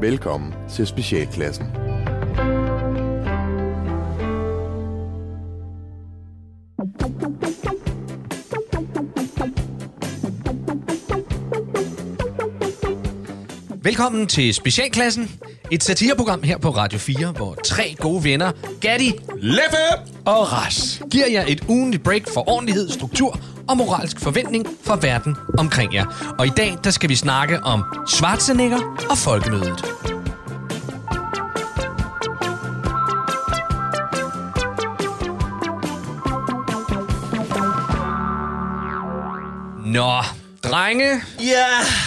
Velkommen til Specialklassen. Velkommen til Specialklassen, et satireprogram her på Radio 4, hvor tre gode venner, Gatti Leffe! og Ras, giver jer et ugenligt break for ordentlighed, struktur og moralsk forventning fra verden omkring jer. Og i dag, der skal vi snakke om Schwarzenegger og folkemødet. Nå, drenge, Ja!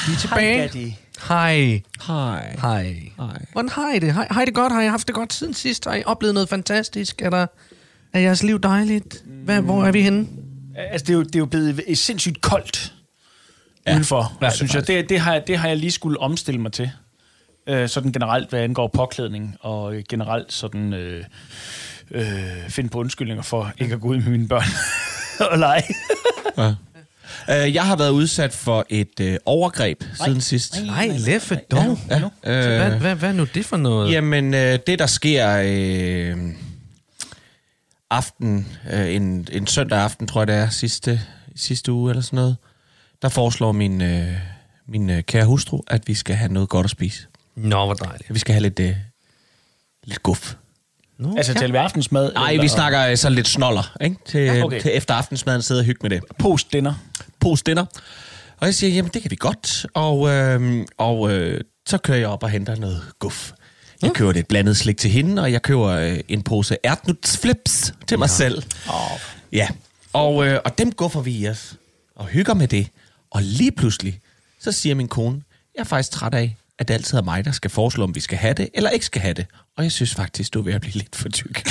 vi er tilbage. Gatti. Hej. Hej. Hej. Hej. Hvordan har I det? Har, har I det godt? Har I haft det godt siden sidst? Har I oplevet noget fantastisk? Er, der, er jeres liv dejligt? Hvad, hvor er vi henne? Altså, det er jo, det er jo blevet øh, sindssygt koldt ja, udenfor, det er ja, synes jeg. Det, det, har, jeg- det har jeg lige skulle omstille mig til. Øh, sådan generelt, hvad angår påklædning, og øh, generelt sådan øh, øh, finde på undskyldninger for ikke at gå ud med mine børn og lege. Uh, jeg har været udsat for et uh, overgreb nej. siden sidst. Nej, Leffe, dog. Ja. Så Øh, Hvad, hvad, hvad er nu det for noget? Jamen, øh, det der sker øh, aften, øh, en, en søndag aften, tror jeg det er, sidste, sidste uge eller sådan noget, der foreslår min, øh, min øh, kære hustru, at vi skal have noget godt at spise. Nå, hvor dejligt. At vi skal have lidt, øh, lidt guf. Nå, altså, til aftensmad. Nej, vi eller snakker øh, sådan lidt snoller, ikke? Til, ja, okay. okay. til efter aftensmaden sidde og hygge med det. Post-dinner. pose dinner. Og jeg siger, jamen det kan vi godt. Og, øh, og øh, så kører jeg op og henter noget guf. Jeg køber lidt blandet slik til hende, og jeg køber øh, en pose ærtnutsflips til mig ja. selv. Åh. Ja, og, øh, og dem guffer vi i os og hygger med det. Og lige pludselig, så siger min kone, jeg er faktisk træt af, at det altid er mig, der skal foreslå, om vi skal have det eller ikke skal have det. Og jeg synes faktisk, du er ved at blive lidt for tyk.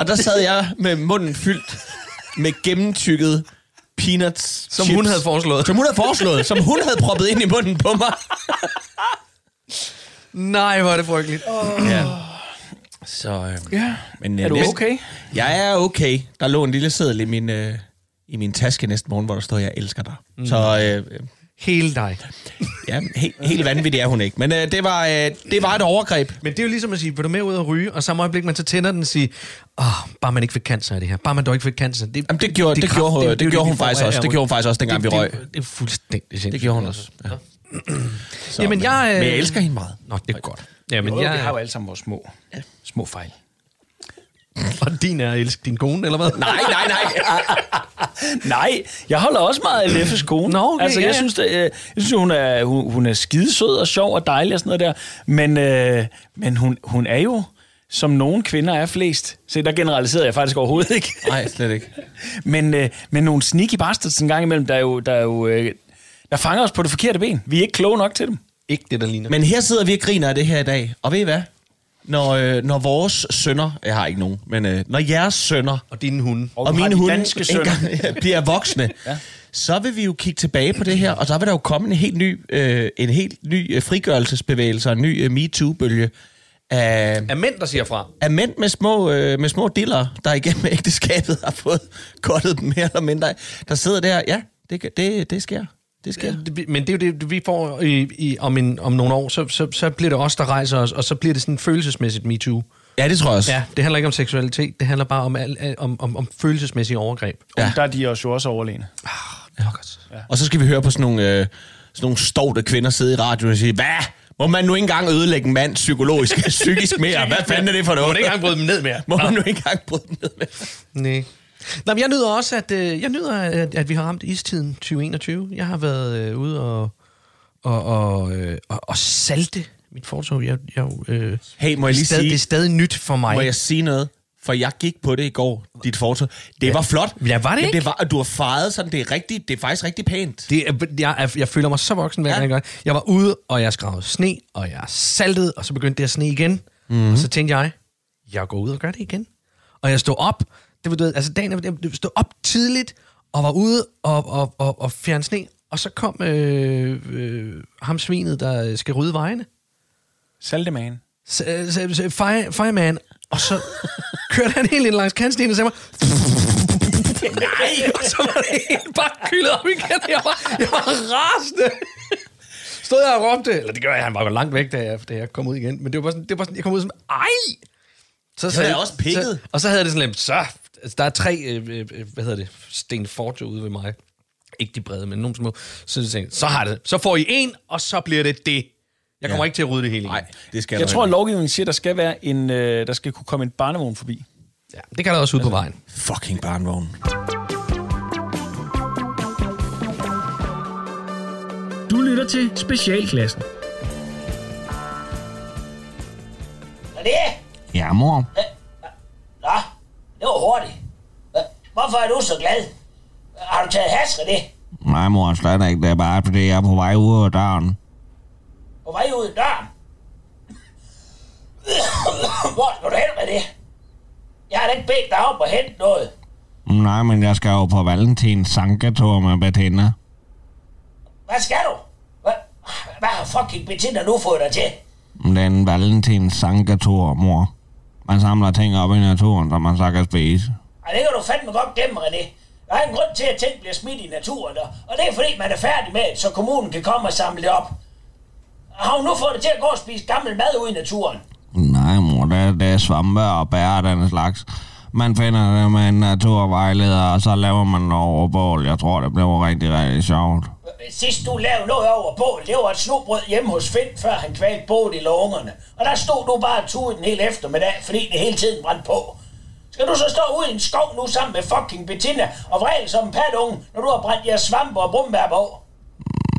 og der sad jeg med munden fyldt med gennemtykket peanuts Som chips. hun havde foreslået. Som hun havde foreslået. som hun havde proppet ind i munden på mig. Nej, hvor er det frygteligt. Ja. Så, øh, Ja. Men, Er øh, du næste- okay? Jeg er okay. Der lå en lille seddel i min, øh, i min taske næste morgen, hvor der stod, jeg elsker dig. Mm. Så øh, øh, Hele dig. ja, he- helt vanvittig er hun ikke. Men øh, det, var, øh, det var et overgreb. Men det er jo ligesom at sige, vil du med ud og ryge? Og samme øjeblik, man så tænder den, sige, åh, bare man ikke fik cancer af det her. Bare man dog ikke fik cancer. Det, Jamen, det gjorde, det er gjorde, kraft- hun- det, er jo gjorde vi hun får faktisk af også. at Det gjorde hun faktisk også, dengang vi røg. Det, det er fuldstændig sindssygt. Det gjorde hun også. Ja. Så, Jamen, men- jeg, øh, Men jeg elsker hende meget. Nå, det er godt. Jamen, Jo, vi jeg, har jo alle sammen vores små, små fejl. Og din er at elske din kone, eller hvad? Nej, nej, nej. Nej, jeg holder også meget af Leffes kone. Nå, okay, altså, jeg, ja, ja. synes, det, øh, jeg synes, hun er, hun, hun er skidesød og sjov og dejlig og sådan noget der. Men, øh, men hun, hun er jo, som nogle kvinder er flest. Se, der generaliserer jeg faktisk overhovedet ikke. Nej, slet ikke. men, øh, men nogle sneaky bastards en gang imellem, der, er jo, der, er jo, øh, der fanger os på det forkerte ben. Vi er ikke kloge nok til dem. Ikke det, der ligner. Men her sidder vi og griner af det her i dag. Og ved I hvad? Når, øh, når vores sønner, jeg har ikke nogen, men øh, når jeres sønner og dine hunde. og, du og har mine de hunde danske sønner. engang bliver voksne, ja. så vil vi jo kigge tilbage på det her, og så vil der jo komme en helt ny, øh, en helt ny øh, frigørelsesbevægelse og en ny øh, MeToo-bølge af, Er mænd, der siger fra. af mænd med små, øh, med små diller, der igennem ægteskabet har fået kottet dem mere eller mindre. Der sidder der, ja, det, kan- det, det sker. Det sker. Men det er jo det, vi får i, i, om, en, om nogle år, så, så, så bliver det os, der rejser os, og så bliver det sådan følelsesmæssigt MeToo. Ja, det tror jeg også. Ja, det handler ikke om seksualitet, det handler bare om, al, al- om, om, om følelsesmæssige overgreb. Ja. Ja. Der er de også jo også overlegne. Ja, godt. Og så skal vi høre på sådan nogle, øh, sådan nogle stovte kvinder sidde i radioen og sige, hvad? Må man nu ikke engang ødelægge en mand psykologisk, psykisk mere? Hvad fanden er det for noget? Må man ikke engang bryde dem ned mere? Må man nu ikke engang bryde dem ned mere? Nej. Nå, men jeg nyder også, at, øh, jeg nyder, at, at vi har ramt istiden 2021. Jeg har været øh, ude og, og, og, øh, og, og salte mit fortog. Jeg, jeg, øh, Hey, må jeg det, er lige stadig, det er sige, stadig nyt for mig. må jeg sige noget? For jeg gik på det i går, dit foto. Det var flot. Ja, var det Ja, ikke? det var, og du har fejet sådan, det er, rigtigt, det er faktisk rigtig pænt. Det, er- jeg, er- jeg føler mig så voksen, hver Ja. gang jeg gør det. Jeg var ude, og jeg skravede sne, og jeg saltede, og så begyndte det at sne igen. Mm-hmm. Og så tænkte jeg, jeg går ud og gør det igen. Og jeg stod op, det var, du ved, altså dagen, efter, jeg stod op tidligt, og var ude og, og, og, og fjerne sne, og så kom øh, øh, ham svinet, der skal rydde vejene. Saltemagen. S- øh, s- øh, fire, fireman, og så kørte han helt ind langs kantstenen og sagde mig, Nej! Og så var det hele bare kyldet op igen. Jeg var, jeg var rasende. Stod jeg og råbte, eller det gør jeg, han var jo langt væk, da jeg, da jeg kom ud igen. Men det var bare sådan, det var bare sådan jeg kom ud som, ej! Så er sagde jeg også pikket. Så, og så havde det sådan lidt, så, altså, der er tre, øh, øh, øh, hvad hedder det, Sten Forte ude ved mig. Ikke de brede, men nogle små. Så, så, så har det, så får I en, og så bliver det det. Jeg kommer Ja. ikke til at rydde det hele Nej, igen. det skal Jeg du tror, at ikke. lovgivningen siger, at der skal, være en, øh, der skal kunne komme en barnevogn forbi. Ja, det kan der også ud på vejen. Fucking barnvogn. Du lytter til Specialklassen. René! Ja, mor. Nå, det var hurtigt. Hva- Hvorfor er du så glad? Har du taget hash, René? Nej, mor, slet ikke. Det er bare, fordi jeg er på vej ud af døren. På vej ud af døren? Hvor skal du hen, René? Jeg har da ikke bedt dig om at hente noget. Nej, men jeg skal jo på Valentins sankator med Bettina. Hvad skal du? Hvad, hvad har fucking Bettina nu fået dig til? Det er en Valentins sankator, mor. Man samler ting op i naturen, som man så kan spise. Ej, det kan du fandme godt glemme, René. Der er en grund til, at ting bliver smidt i naturen, og og det er fordi, man er færdig med det, så kommunen kan komme og samle det op. Har hun nu fået det til at gå og spise gammel mad ude i naturen? Nej, mor, det er, det er svampe og bær og den slags. Man finder det med en naturvejleder, og så laver man noget over bål. Jeg tror, det bliver rigtig, rigtig sjovt. Sidst du lavede noget over bål, det var et snobrød hjemme hos Finn, før han kvalte bål i lungerne. Og der stod du bare og tude den hele eftermiddag, fordi det hele tiden brændte på. Skal du så stå ude i en skov nu sammen med fucking Bettina og vrede som en patunge, når du har brændt jeres svampe og brumbær på?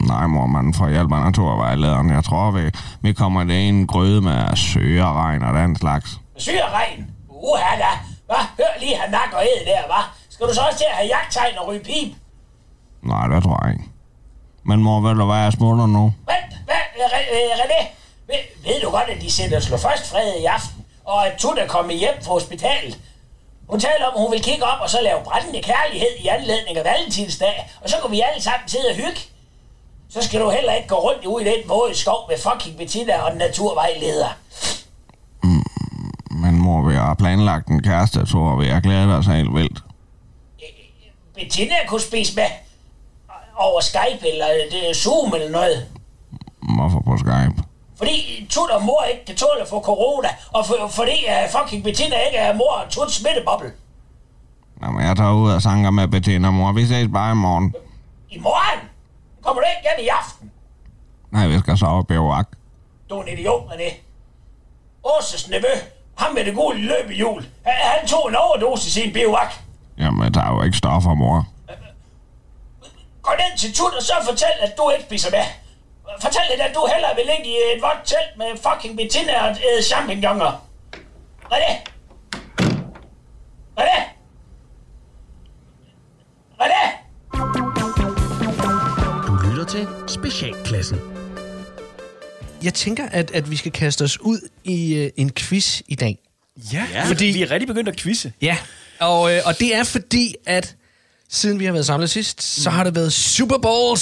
Nej, mor, man får hjælp af naturvejlederen. Jeg tror, vi, vi kommer det i en gryde med søgeregn og den slags. Syre regn. Uha da. Hva? Hør lige, han nakker og æd der, hva? Skal du så også til at have jagttegn og ryge pip? Nej, det tror jeg ikke. Men mor, ved du hvad, jeg smutter nu. Vent, hvad, Re- øh, René? Ved, ved du godt, at de sætter slå først fred i aften, og at Tut er kommet hjem fra hospitalet? Hun taler om, at hun vil kigge op og så lave brændende kærlighed i anledning af valentinsdag, og så kan vi alle sammen sidde og hygge. Så skal du heller ikke gå rundt ude i den våde skov med fucking Bettina og den naturvejleder. Men mor, vi har planlagt en kæreste, tror vi. Jeg glæder os helt vildt. Bettina kunne spise med over Skype eller øh, Zoom eller noget. Hvorfor på Skype? Fordi Tut og mor ikke kan tåle at få corona, og for, fordi uh, fucking Bettina ikke er mor og Tuts smitteboble. Jamen, jeg tager ud og sanker med Bettina, mor. Vi ses bare i morgen. I morgen kommer du ikke hjem i aften. Nej, vi skal sove i bivak. Du er en idiot, René. Åses nevø, ham med det gule løbehjul, han han tog en overdosis i en bivak. Jamen, jeg tager jo ikke stoffer, mor. Gå ned til Tut og så fortæl, at du ikke spiser med. Fortæl hende, at du hellere vil ligge i et vådt telt med fucking Bettina og æde champignoner. René! René! René! Du lytter til Specialklassen. Jeg tænker, at, at vi skal kaste os ud i øh, en quiz i dag. Ja, ja. fordi- fordi vi er rigtig begyndt at quizze. Ja, og, øh, og det er fordi, at siden vi har været samlet sidst, så har det været Super Bowl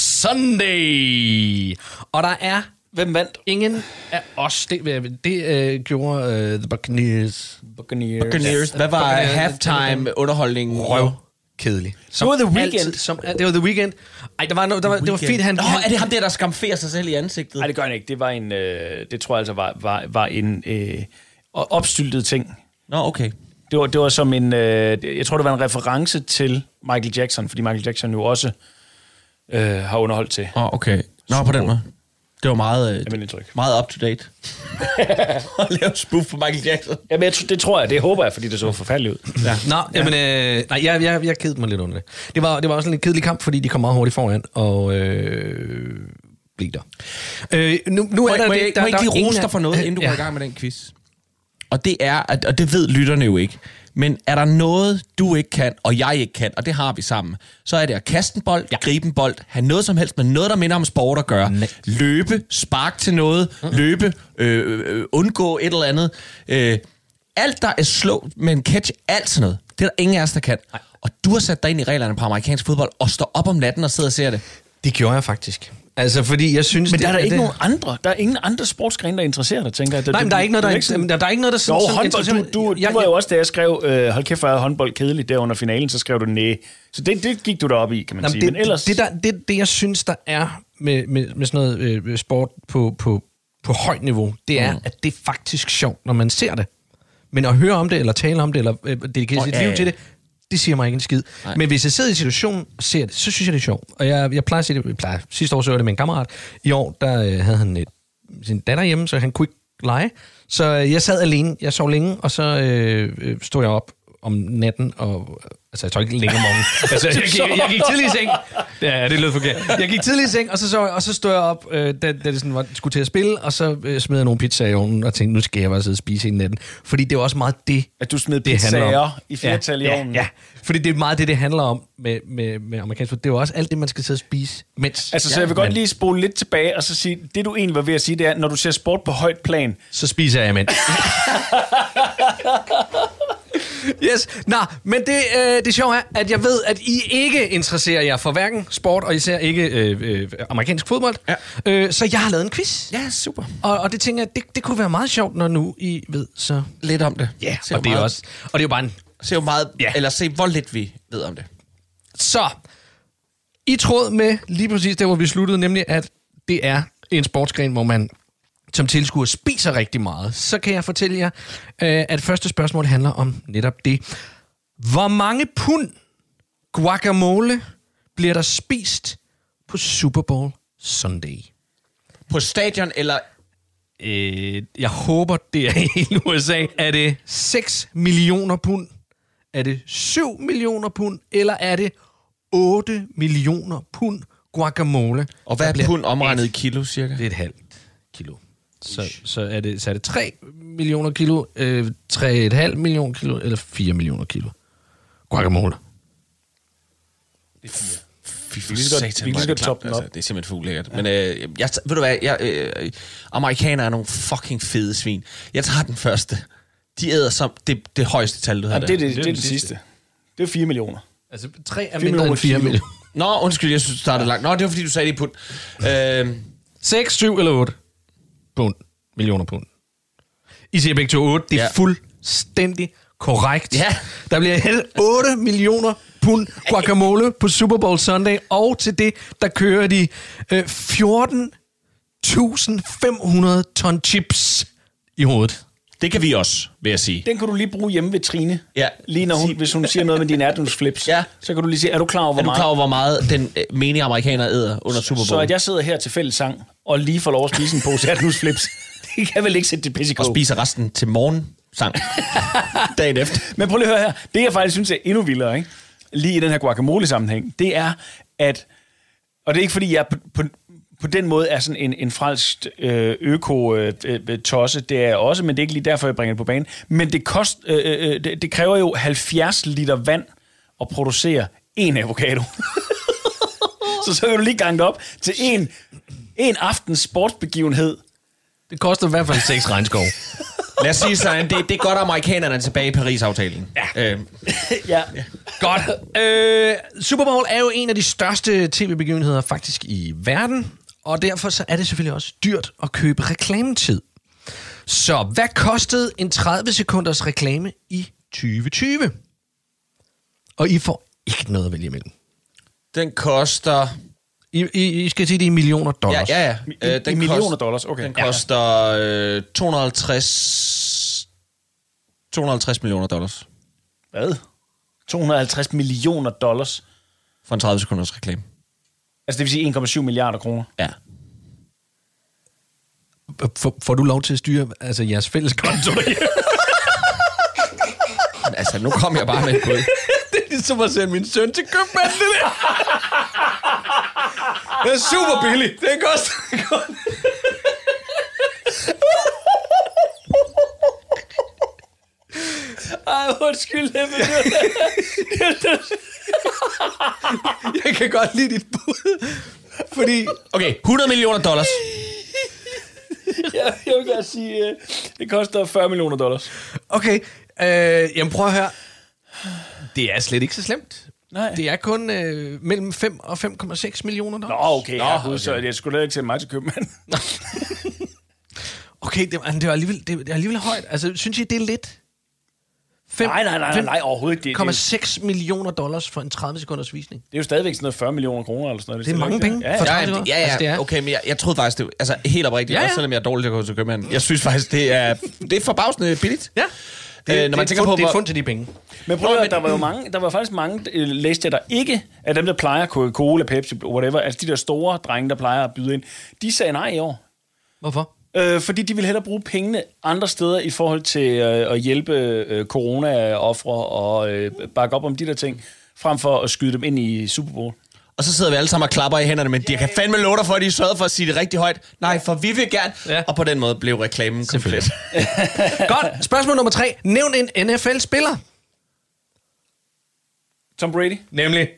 Sunday. Og der er Hvem vandt? ingen af os, det, det øh, gjorde øh, The Buccaneers. Buccaneers. Buccaneers. Hvad var halftime underholdningen? Røv. Kedelig. Det var The Weeknd. Altid, som, det var The Weeknd. Ej, der var, no, der var, det var fint, han... Nå, han er det ham der, der skamferer sig selv i ansigtet? Nej, det gør han ikke. Det var en, øh, det tror jeg altså var, var, var en øh, opstyltet ting. Nå, okay. Det var, det var som en, øh, jeg tror det var en reference til Michael Jackson, fordi Michael Jackson jo også øh, har underholdt til. Åh, oh, okay. Nå, på den måde. Det var meget, mit indtryk. meget up-to-date. At lave spoof på Michael Jackson. Jamen, jeg, tr- det tror jeg, det håber jeg, fordi det så forfærdeligt ud. Ja. Nå, ja. jamen, øh, nej, jeg, jeg, jeg kedede mig lidt under det. Det var, det var også en lidt kedelig kamp, fordi de kom meget hurtigt foran, og øh, blev der. Øh, nu, nu Må, er der, jeg- må, det- jeg, der, må jeg der ikke er lige ingen rose af- dig for noget, inden du ja. går i gang med den quiz? Og det er, at, og det ved lytterne jo ikke, men er der noget, du ikke kan, og jeg ikke kan, og det har vi sammen, så er det at kaste en bold, ja. gribe en bold, have noget som helst med noget, der minder om sport at gøre. Nej. Løbe, spark til noget, løbe, øh, øh, undgå et eller andet. Øh, alt, der er slå med en catch, alt sådan noget, det er der ingen af os, der kan. Og du har sat dig ind i reglerne på amerikansk fodbold, og står op om natten og sidder og ser det. Det gjorde jeg faktisk. Altså, fordi jeg synes... Men der er det- der ikke det- nogen andre. Der er ingen andre sportsgrene, der interesserer dig, tænker jeg. Nej, men der er ikke noget, der, Du er, sådan- ikke- der, der er ikke noget, der... Jo, sådan- sådan håndbold, interesserer du, mig. du, Jeg- du var jo også, da jeg skrev, øh, hold kæft, hvor er håndbold kedeligt der under finalen, så skrev du nej. Så det, det gik du derop i, kan man Jamen, sige. det, men ellers, det, der, det, det, jeg synes, der er med, med, med sådan noget øh, sport på, på, på højt niveau, det er, mm. at det er faktisk sjovt, når man ser det. Men at høre om det, eller tale om det, eller øh, dedikere Åh, sit ja, liv ja. til det, det siger mig ikke en skid. Nej. Men hvis jeg sidder i situationen og ser det, så synes jeg, det er sjovt. Og jeg, jeg plejer at se det, jeg plejer, sidste år så jeg det med en kammerat. I år, der øh, havde han et, sin datter hjemme, så han kunne ikke lege. Så øh, jeg sad alene, jeg sov længe, og så øh, øh, stod jeg op om natten, og altså jeg tog ikke længe om morgenen. altså, jeg, gik, jeg gik tidlig i seng. Ja, det lød forkert. Jeg gik tidlig i seng, og så, sov jeg, og så stod jeg op, øh, da, da det sådan var, skulle til at spille, og så øh, smed jeg nogle pizzaer i ovnen, og tænkte, nu skal jeg bare sidde og spise hele natten. Fordi det var også meget det, at du smed det handler om. pizzaer i flertal i ja, ovnen. Ja, ja, fordi det er meget det, det handler om med, med, med amerikansk fodbold. Det er jo også alt det, man skal sidde og spise, mens... Altså, så jeg vil Ja. godt Men lige spole lidt tilbage, og så sige, det du egentlig var ved at sige, det er, når du ser sport på højt plan, Så spiser jeg imens. yes, nå, men det, øh, det sjove er, at jeg ved, at I ikke interesserer jer for hverken sport, og især ikke øh, øh, amerikansk fodbold. Ja. Øh, så jeg har lavet en quiz. Ja, super. Og, og det tænker jeg, det, det kunne være meget sjovt, når nu I ved så... Lidt om det. Ja, Se, og det er også... Og det er jo bare en Se, hvor meget, Ja. ja. eller se, hvor lidt vi ved om det. Så, i tråd med lige præcis det, hvor vi sluttede, nemlig at det er en sportsgren, hvor man som tilskuer spiser rigtig meget, så kan jeg fortælle jer, øh, at første spørgsmål handler om netop det. Hvor mange pund guacamole bliver der spist på Super Bowl Sunday? På stadion, eller... Øh, jeg håber, det er i USA. Er det 6 millioner pund? Er det 7 millioner pund? Eller er det 8 millioner pund guacamole? Og hvad der er bliver- pund omregnet i kilo, cirka? Det er et halvt kilo. Så, så, er det, så er det 3 millioner kilo, øh, 3,5 millioner kilo, eller 4 millioner kilo guacamole. Fy for lige så godt- vi kan lige så hvor er det godt klamt, altså. toppe den op. det er simpelthen for ulækkert. Men øh, jeg, ved du hvad, jeg, øh, amerikanere er nogle fucking fede svin. Jeg tager den første. De æder som det, det højeste tal, du har Jamen, der. det, er det, det, er det sidste. Det er 4 millioner. Altså 3 er mindre mindre end millioner end fire 4 kilo. millioner. millioner. Nå, undskyld, jeg synes, du startede langt. Nå, det var fordi, du sagde det i pund. Øh, 6, 7 eller 8 pund. Millioner pund. I siger begge to 8. Det er ja. Ja. fuldstændig korrekt. Ja. Der bliver hældt 8 millioner pund guacamole på Super Bowl Sunday, og til det, der kører de øh, 14.500 ton chips i hovedet. det kan vi også, vil jeg sige. Den kan du lige bruge hjemme ved Trine. Ja. Lige når hun, hvis hun siger noget med dine flips. Ja. Så kan du lige sige, er du klar over, hvor Er du meget? klar over, hvor meget den øh, menige amerikaner æder under Super Bowl? Så at jeg sidder her til fælles sang, og lige får lov at spise en pose flips. det kan vel ikke sætte det pisse i Og kog. spiser resten til morgensang dagen efter. Men prøv lige at høre her. Det, jeg faktisk synes er endnu vildere, ikke? lige i den her guacamole-sammenhæng, det er, at... Og det er ikke, fordi jeg på, på, på den måde er sådan en, en frelst øh, øko-tosse. det er jeg også, men det er ikke lige derfor, jeg bringer det på banen. Men det, kost, øh, øh, det, det kræver jo 70 liter vand at producere en avocado. så så kan du lige gange det op til en, en aftens sportsbegivenhed. Det koster i hvert fald 6 regnskov. Lad os sige sådan, det, det er godt, at amerikanerne er tilbage i Paris-aftalen. Ja. Øh, Ja. Godt. Øh, Super Bowl er jo en af de største tv-begivenheder faktisk i verden, og derfor så er det selvfølgelig også dyrt at købe reklametid. Så hvad kostede en 30 sekunders reklame i 2020? Og I får ikke noget at vælge imellem. den koster... I, I, I skal sige, det er i millioner Ja, dollars. ja, ja. I- i millioner Øh, kost- dollars, okay. Den Ja. koster øh, 250... 250 millioner dollars Hvad? 250 millioner dollars. for en 30 sekunders reklame. Altså det vil sige 1,7 milliarder kroner. Ja. Får, får du lov til at styre altså, jeres fælles konto? Men altså, nu kom jeg bare med et bud. det er ligesom at sende min søn til købmanden, det der. Det er super billigt. Det koster kun... Ej, undskyld, Ebbe. Jeg kan godt lide dit bud, fordi... Okay, 100 millioner dollars. Jeg, jeg vil gerne sige, øh, det koster 40 millioner dollars. Okay, øh, jamen prøv at høre. Det er slet ikke så slemt. Nej. Det er kun øh, mellem 5 og 5,6 millioner Nå, dollars. okay, Nå, herregud, okay. så jeg skulle da ikke til mig til købmand. Okay, det, var- det, er alligevel, det, det er alligevel højt. Altså, synes I, det er lidt? Fem- Nej, nej, nej, nej, fem- nej, overhovedet ikke. Det, det, det, 1,6 millioner dollars for en 30-sekunders visning. det er jo stadigvæk sådan noget 40 millioner kroner eller sådan noget. Det er selv mange ikke- penge. Ja, For ja. tak. det Ja, ja, godt. ja, Altså, det ja. er- Okay, men jeg, jeg troede faktisk, det altså helt oprigtigt, Ja, ja, ja. ja. også selvom jeg er dårlig til at gå til købmanden. Jeg synes faktisk, det er, det er forbavsende billigt. Ja. Øh, når man det, tænker er fund, på, det er hvor- fund til de penge. Men prøv at høre, der var jo mange, der var faktisk mange, øh, læste jeg der ikke, af dem, der plejer Coca-Cola, Pepsi, whatever, altså de der store drenge, der plejer at byde ind, de sagde nej i år. Hvorfor? Øh, fordi de ville hellere bruge pengene andre steder i forhold til øh, at hjælpe øh, corona-offre og øh, bakke op om de der ting, frem for at skyde dem ind i Super Bowl. Og så sidder vi alle sammen og klapper i hænderne, men de kan fandme love dig for, at de sørgede for at sige det rigtig højt. Nej, for vi vil gerne. Ja. Ja. Og på den måde blev reklamen komplet. Godt. Spørgsmål nummer tre. Nævn en NFL-spiller. Tom Brady? Nemlig?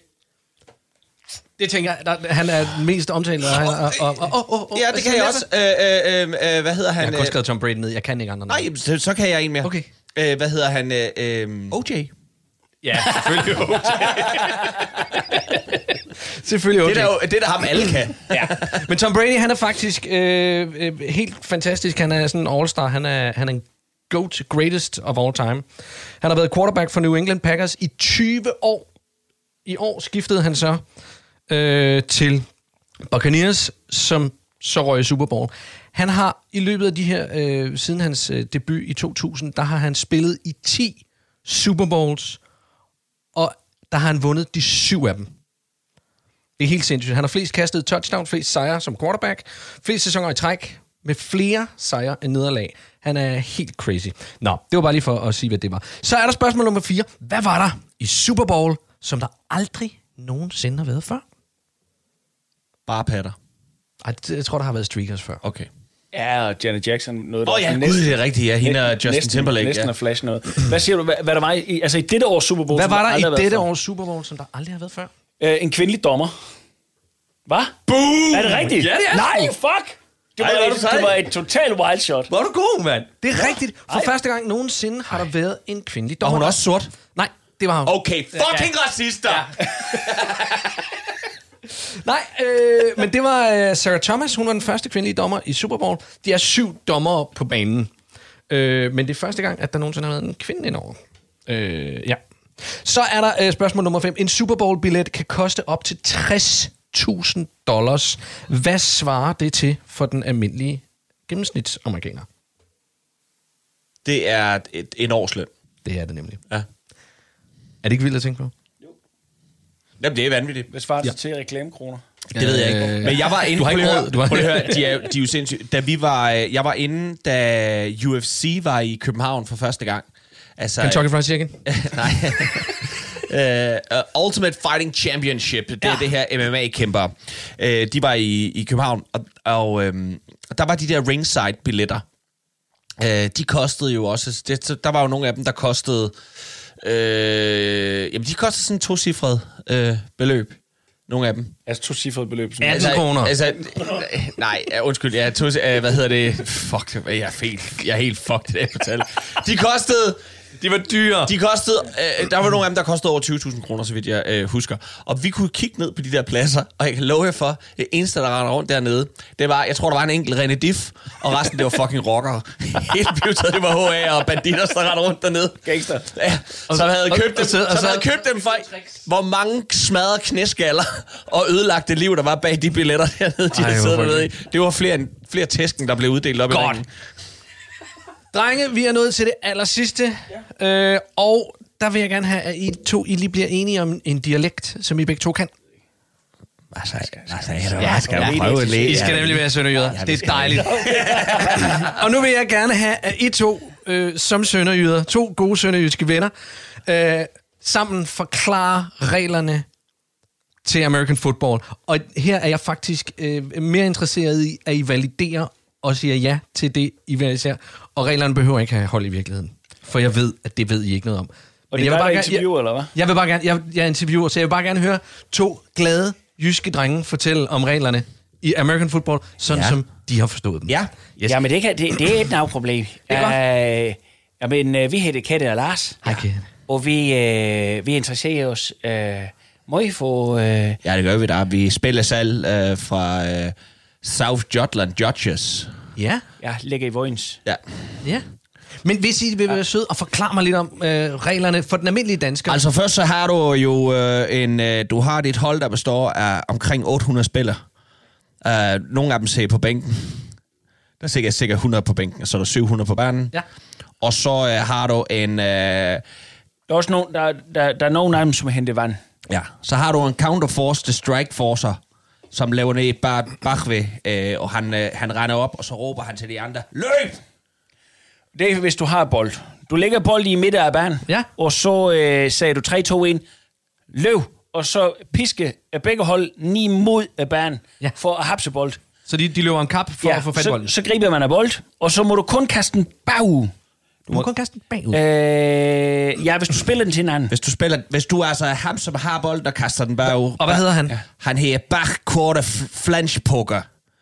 Det tænker jeg, der, han er den mest omtalt. Og, han- og, og, og, og, og, og, Ja, det kan jeg også. Øh, øh, øh, øh, hvad hedder Altså, Jeg han? har kun øh, skrevet Tom Brady ned. Jeg kan ikke andre. Nej, så, så kan jeg en mere. Okay. Øh, hvad hedder han? Øh, øh, OJ. Ja, selvfølgelig OJ. selvfølgelig OJ. Det er der, jo- det er der ham alle kan. ja. Men Tom Brady, han er faktisk øh, øh, helt fantastisk. Han er sådan en all-star. Han er, han er en GOAT, greatest of all time. Han har været quarterback for New England Packers i 20 år. I år skiftede han så øh, til Buccaneers, som så røg i Super Bowl. Han har i løbet af de her, øh, siden hans øh, debut i 2000, der har han spillet i 10 Super Bowls, og der har han vundet de syv af dem. Det er helt sindssygt. Han har flest kastet touchdown, flest sejre som quarterback, flest sæsoner i træk, med flere sejre end nederlag. Han er helt crazy. Nå, det var bare lige for at sige, hvad det var. Så er der spørgsmål nummer 4. Hvad var der i Super Bowl, som der aldrig nogensinde har været før? Bare patter. Ej, det- jeg tror, der har været streakers før. Okay. Ja, og Janet Jackson, noget der... Åh oh, ja, næsten- gud, det er rigtigt. Ja, hende og Justin næsten, Timberlake. Næsten ja. ja. at flash noget. Hvad siger du, hvad, hvad der var i, altså i dette års Super Bowl? Hvad som var aldrig har der i været dette før? års Super Bowl, som der aldrig har været før? Øh, en kvindelig dommer. Hvad? Boom! Er det rigtigt? Ja, det er Nej, fuck! Det var, Ej, hvor er Ej, du et, sej. det var et total wild shot. Hvor er du god, mand. Det er rigtigt. For første gang nogensinde har der været en kvindelig Og dommer. hun er også sort. Nej, det var hun. Okay, fucking ja. racister. Ja. Nej, øh, men det var øh, Sarah Thomas. Hun var den første kvindelige dommer i Super Bowl. De er syv dommere på banen. Øh, men det er første gang, at der nogensinde har været en kvinde indover. Øh, ja. Så er der øh, spørgsmål nummer 5. En Super Bowl-billet kan koste op til 60.000 dollars. Hvad svarer det til for den almindelige gennemsnitsamerikaner? Det er et, en årsløn. Det er det nemlig. Ja. Er det ikke vildt at tænke på? Jamen, det er vanvittigt. Hvad svarer det ja. til reklamekroner? Det ved jeg ikke. Øh, Men jeg var inde... Du har ikke prøv lige at råd. høre- Du har- Prøv lige at høre, de er, jo- de er jo sindssyge. Da vi var... øh, Jeg var inde, da UFC var i København for første gang. Altså, Kentucky Fried Chicken? Nej. uh, Ultimate Fighting Championship, det ja. er det her MMA-kæmper. Uh, de var i, i København, og, og øhm, der var de der ringside-billetter. Uh, de kostede jo også... Det, så der var jo nogle af dem, der kostede... Øh, jamen, de kostede sådan to cifrede øh, beløb. Nogle af dem. Altså to cifrede beløb. Sådan. 18 kroner. Altså, nej, ja, undskyld. Jeg tog, øh, hvad hedder det? Fuck, det var- jeg er helt, jeg er helt fucked det fortal. De kostede... De var dyre. De kostede, øh, der var nogle af dem, der kostede over 20.000 kroner, så vidt jeg øh, husker. Og vi kunne kigge ned på de der pladser, og jeg kan love jer for, det eneste, der render rundt dernede, det var, jeg tror, der var en enkelt René Diff, og resten, det var fucking rockere. Helt pivet, det var HA og banditter, der render rundt dernede. Gangster. Ja, som havde og- købt og dem, så- og som så- havde købt dem for, hvor mange smadrede knæskaller og ødelagte liv, der var bag de billetter dernede, de Ej, havde hvor siddet dernede i. frygteligt. Det var flere, end- flere tæsken, der blev uddelt op i Godt. ringen. Drenge, vi er nået til det aller sidste. Ja. Øh, og der vil jeg gerne have, at I to I lige bliver enige om en dialekt, som I begge to kan. Altså, altså, jeg skal ja, prøve en læge. I skal nemlig være sønderjyder. Ja, det er dejligt. og nu vil jeg gerne have, at I to, øh, som sønderjyder, to gode sønderjyske venner, øh, sammen forklare reglerne til American Football. Og her er jeg faktisk øh, mere interesseret i, at I validerer og siger ja til det, I hver især. Og reglerne behøver ikke have hold i virkeligheden. For jeg ved, at det ved I ikke noget om. Og Men det jeg er vil bare bare et gerne- interview, eller hvad? jeg vil bare gerne, jeg, jeg er interviewer, så jeg vil bare gerne høre to glade jyske drenge fortælle om reglerne i American Football, sådan ja. Ja. som de har forstået dem. Ja. Yes. Jamen, det, kan, det, det er et navproblem. Altså- det er godt. Øh, jamen, øh, vi hedder Kette og Lars, Okay. og vi, øh, vi interesserer os øh, Må I få... Øh, Ja, det gør vi da. Vi spiller selv øh, fra øh, South Jutland Judges. Ja, ja, lægger i vojens. Ja. ja. Men hvis I vil være sød og forklare mig lidt om øh, reglerne for den almindelige dansker. Altså først så har du jo øh, en, øh, du har dit hold, der består af omkring 800 spillere. Uh, nogle af dem sidder på bænken. Der er sikkert, sikkert 100 på bænken, og så er der 700 på banen. Ja. Og så øh, har du en... Øh, Der er også nogen, der, der, der er nogen af dem, som har hentet vand. Ja, så har du en counterforce, the strike forcer, som laver ned bare bagved, øh, og han, øh, han render op, og så råber han til de andre, løb! Det er, hvis du har bold. Du lægger bold i midten af banen, Ja. og så øh, sagde du 3-2-1, løb, og så piske af begge hold ni mod af banen Ja. ja. for at hapse bold. Så de, de løber en kap for ja, at få fat i så, bolden. så griber man af bold, og så må du kun kaste den bag. Du må kun kaste den bagud. Øh, ja, hvis du spiller den til en anden. Hvis du spiller, hvis du altså er ham, som har bolden og kaster den bare ud. Og hvad hedder han? Ja. Han hedder Bach Korte Flanschpoker.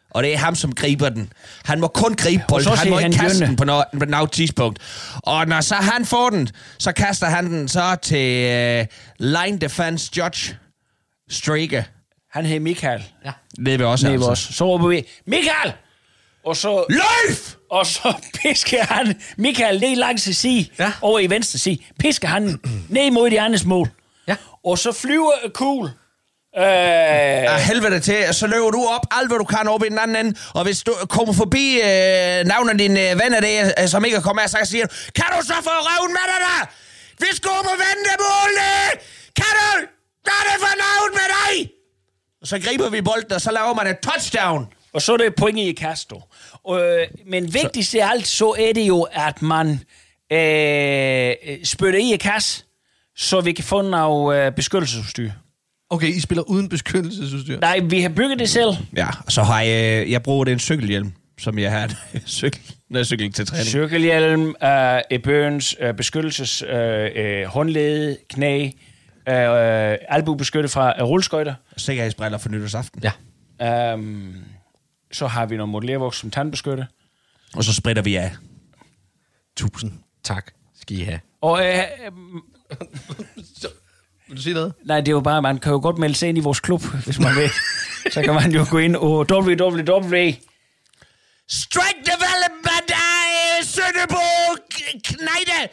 Og det er ham, som griber den. Han må kun gribe bolden. så Han må siger ikke han kaste Jønne. den på noget, på noget tidspunkt. Og når så han får den, så kaster han den så til øh, line defense judge Striker. Han hed Michael. Det vil også Nede ved altså. os. Så råber vi, Michael! Og så... Løb! Og så pisker han Michael ned langs til side, Ja. ja. over i venstre side. Pisker han ned mod de andres mål. Ja. Og så flyver Kugl. Øh, af helvede til, og så løber du op alt, hvad du kan op i den anden ende, og hvis du kommer forbi øh, navnet af dine øh, venner, det, øh, som ikke er kommet af, så siger du, kan du så få røven med dig der? Vi skulle på ventemålene! Kan du? Hvad er det for navn med dig? Og så griber vi bolden, og så laver man et touchdown. og så er det point i Castro. Øh, men vigtigst af alt, så er det jo, at man øh, spytter i kasse, så vi kan få noget øh, beskyttelsesudstyr. Okay, I spiller uden beskyttelsesudstyr. Nej, vi har bygget det selv. Ja, og så har jeg, jeg bruger det en cykelhjelm, som jeg har cykel, når jeg cykler til træning. Cykelhjelm, øh, i bøgens øh, beskyttelses øh, øh, håndlede, knæ, øh, øh, albubeskytte fra øh, rulleskøjter. Sikkerhedsbriller for nytårsaften. Ja. Um, så har vi noget modellervoks som tandbeskytte. Og så spritter vi af. Tusind tak skal I have. Og øh, øh, Vil du sige noget? nej, det er jo bare, man kan jo godt melde sig ind i vores klub, hvis man vil. så kan man jo gå ind og www. Strike Development af Sønderborg Knejde.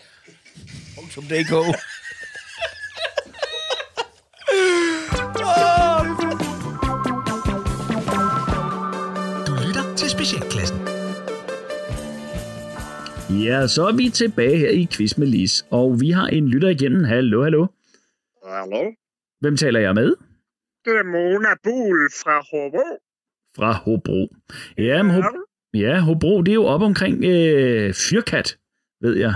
Du lytter til Specialklassen. Ja, så er vi tilbage her i Quiz med Lis, og vi har en lytter igennem. Hallo, hallo. Hallo? Hvem taler jeg med? Det er Mona Buhl fra Hobro. Fra Hobro. Ja, men Hobro, ja, Hobro, det er jo op omkring øh, Fyrkat, ved jeg.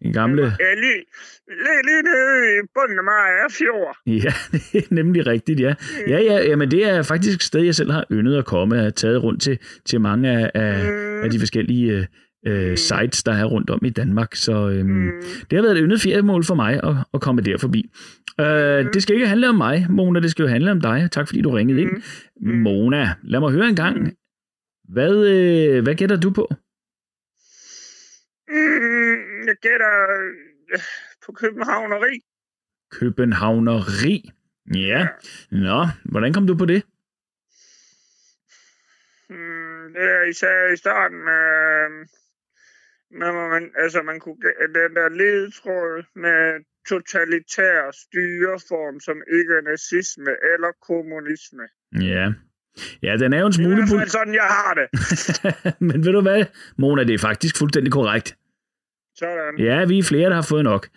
En gamle... Ja, lige, lige, lige nede i bunden af Maja Fjord. Ja, det er nemlig rigtigt, ja. Ja, ja, jamen det er faktisk et sted, jeg selv har yndet at komme og har taget rundt til, til mange af, af, Mm. af de forskellige øh, øh, sites, der er rundt om i Danmark. Så øhm, Mm. det har været et yndet feriemål for mig at, at komme der forbi. Øh, det skal ikke handle om mig, Mona, det skal jo handle om dig. Tak fordi du ringede Mm. ind. Mona, lad mig høre en gang. Hvad, øh, hvad gætter du på? Mm, jeg gætter øh, på Københavneri. Københavneri. Ja. Nå, hvordan kom du på det? Mm, det er især i starten med, øh, med hvor man, altså man kunne gæ- den der ledetråd med totalitær styreform, som ikke er nazisme eller kommunisme. Ja. Ja, den er jo en Det er i smule... hvert pol- fald sådan, jeg har det. Men ved du hvad, Mona, det er faktisk fuldstændig korrekt. Sådan. Ja, vi er flere, der har fået nok.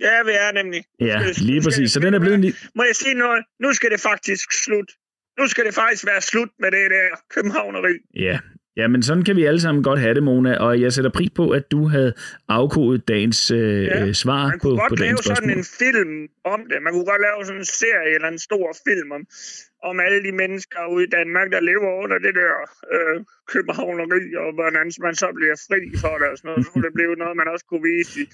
Ja, vi er nemlig. Nu Ja, skal det- nu lige skal præcis. det- Så den er blevet en li- Må jeg sige noget? Nu skal det faktisk slut. Nu skal det faktisk være slut med det der københavneri. Ja. ja, men sådan kan vi alle sammen godt have det, Mona. Og jeg sætter pris på, at du havde afkodet dagens øh, Ja, ja, svar Man kunne på, på godt lave dagens sådan spørgsmål. en film om det. Man kunne godt lave sådan en serie eller en stor film om, om alle de mennesker ude i Danmark, der lever under det der øh, københavneri, og hvordan man så bliver fri for det og sådan noget. Så kunne det blive noget, man også kunne vise i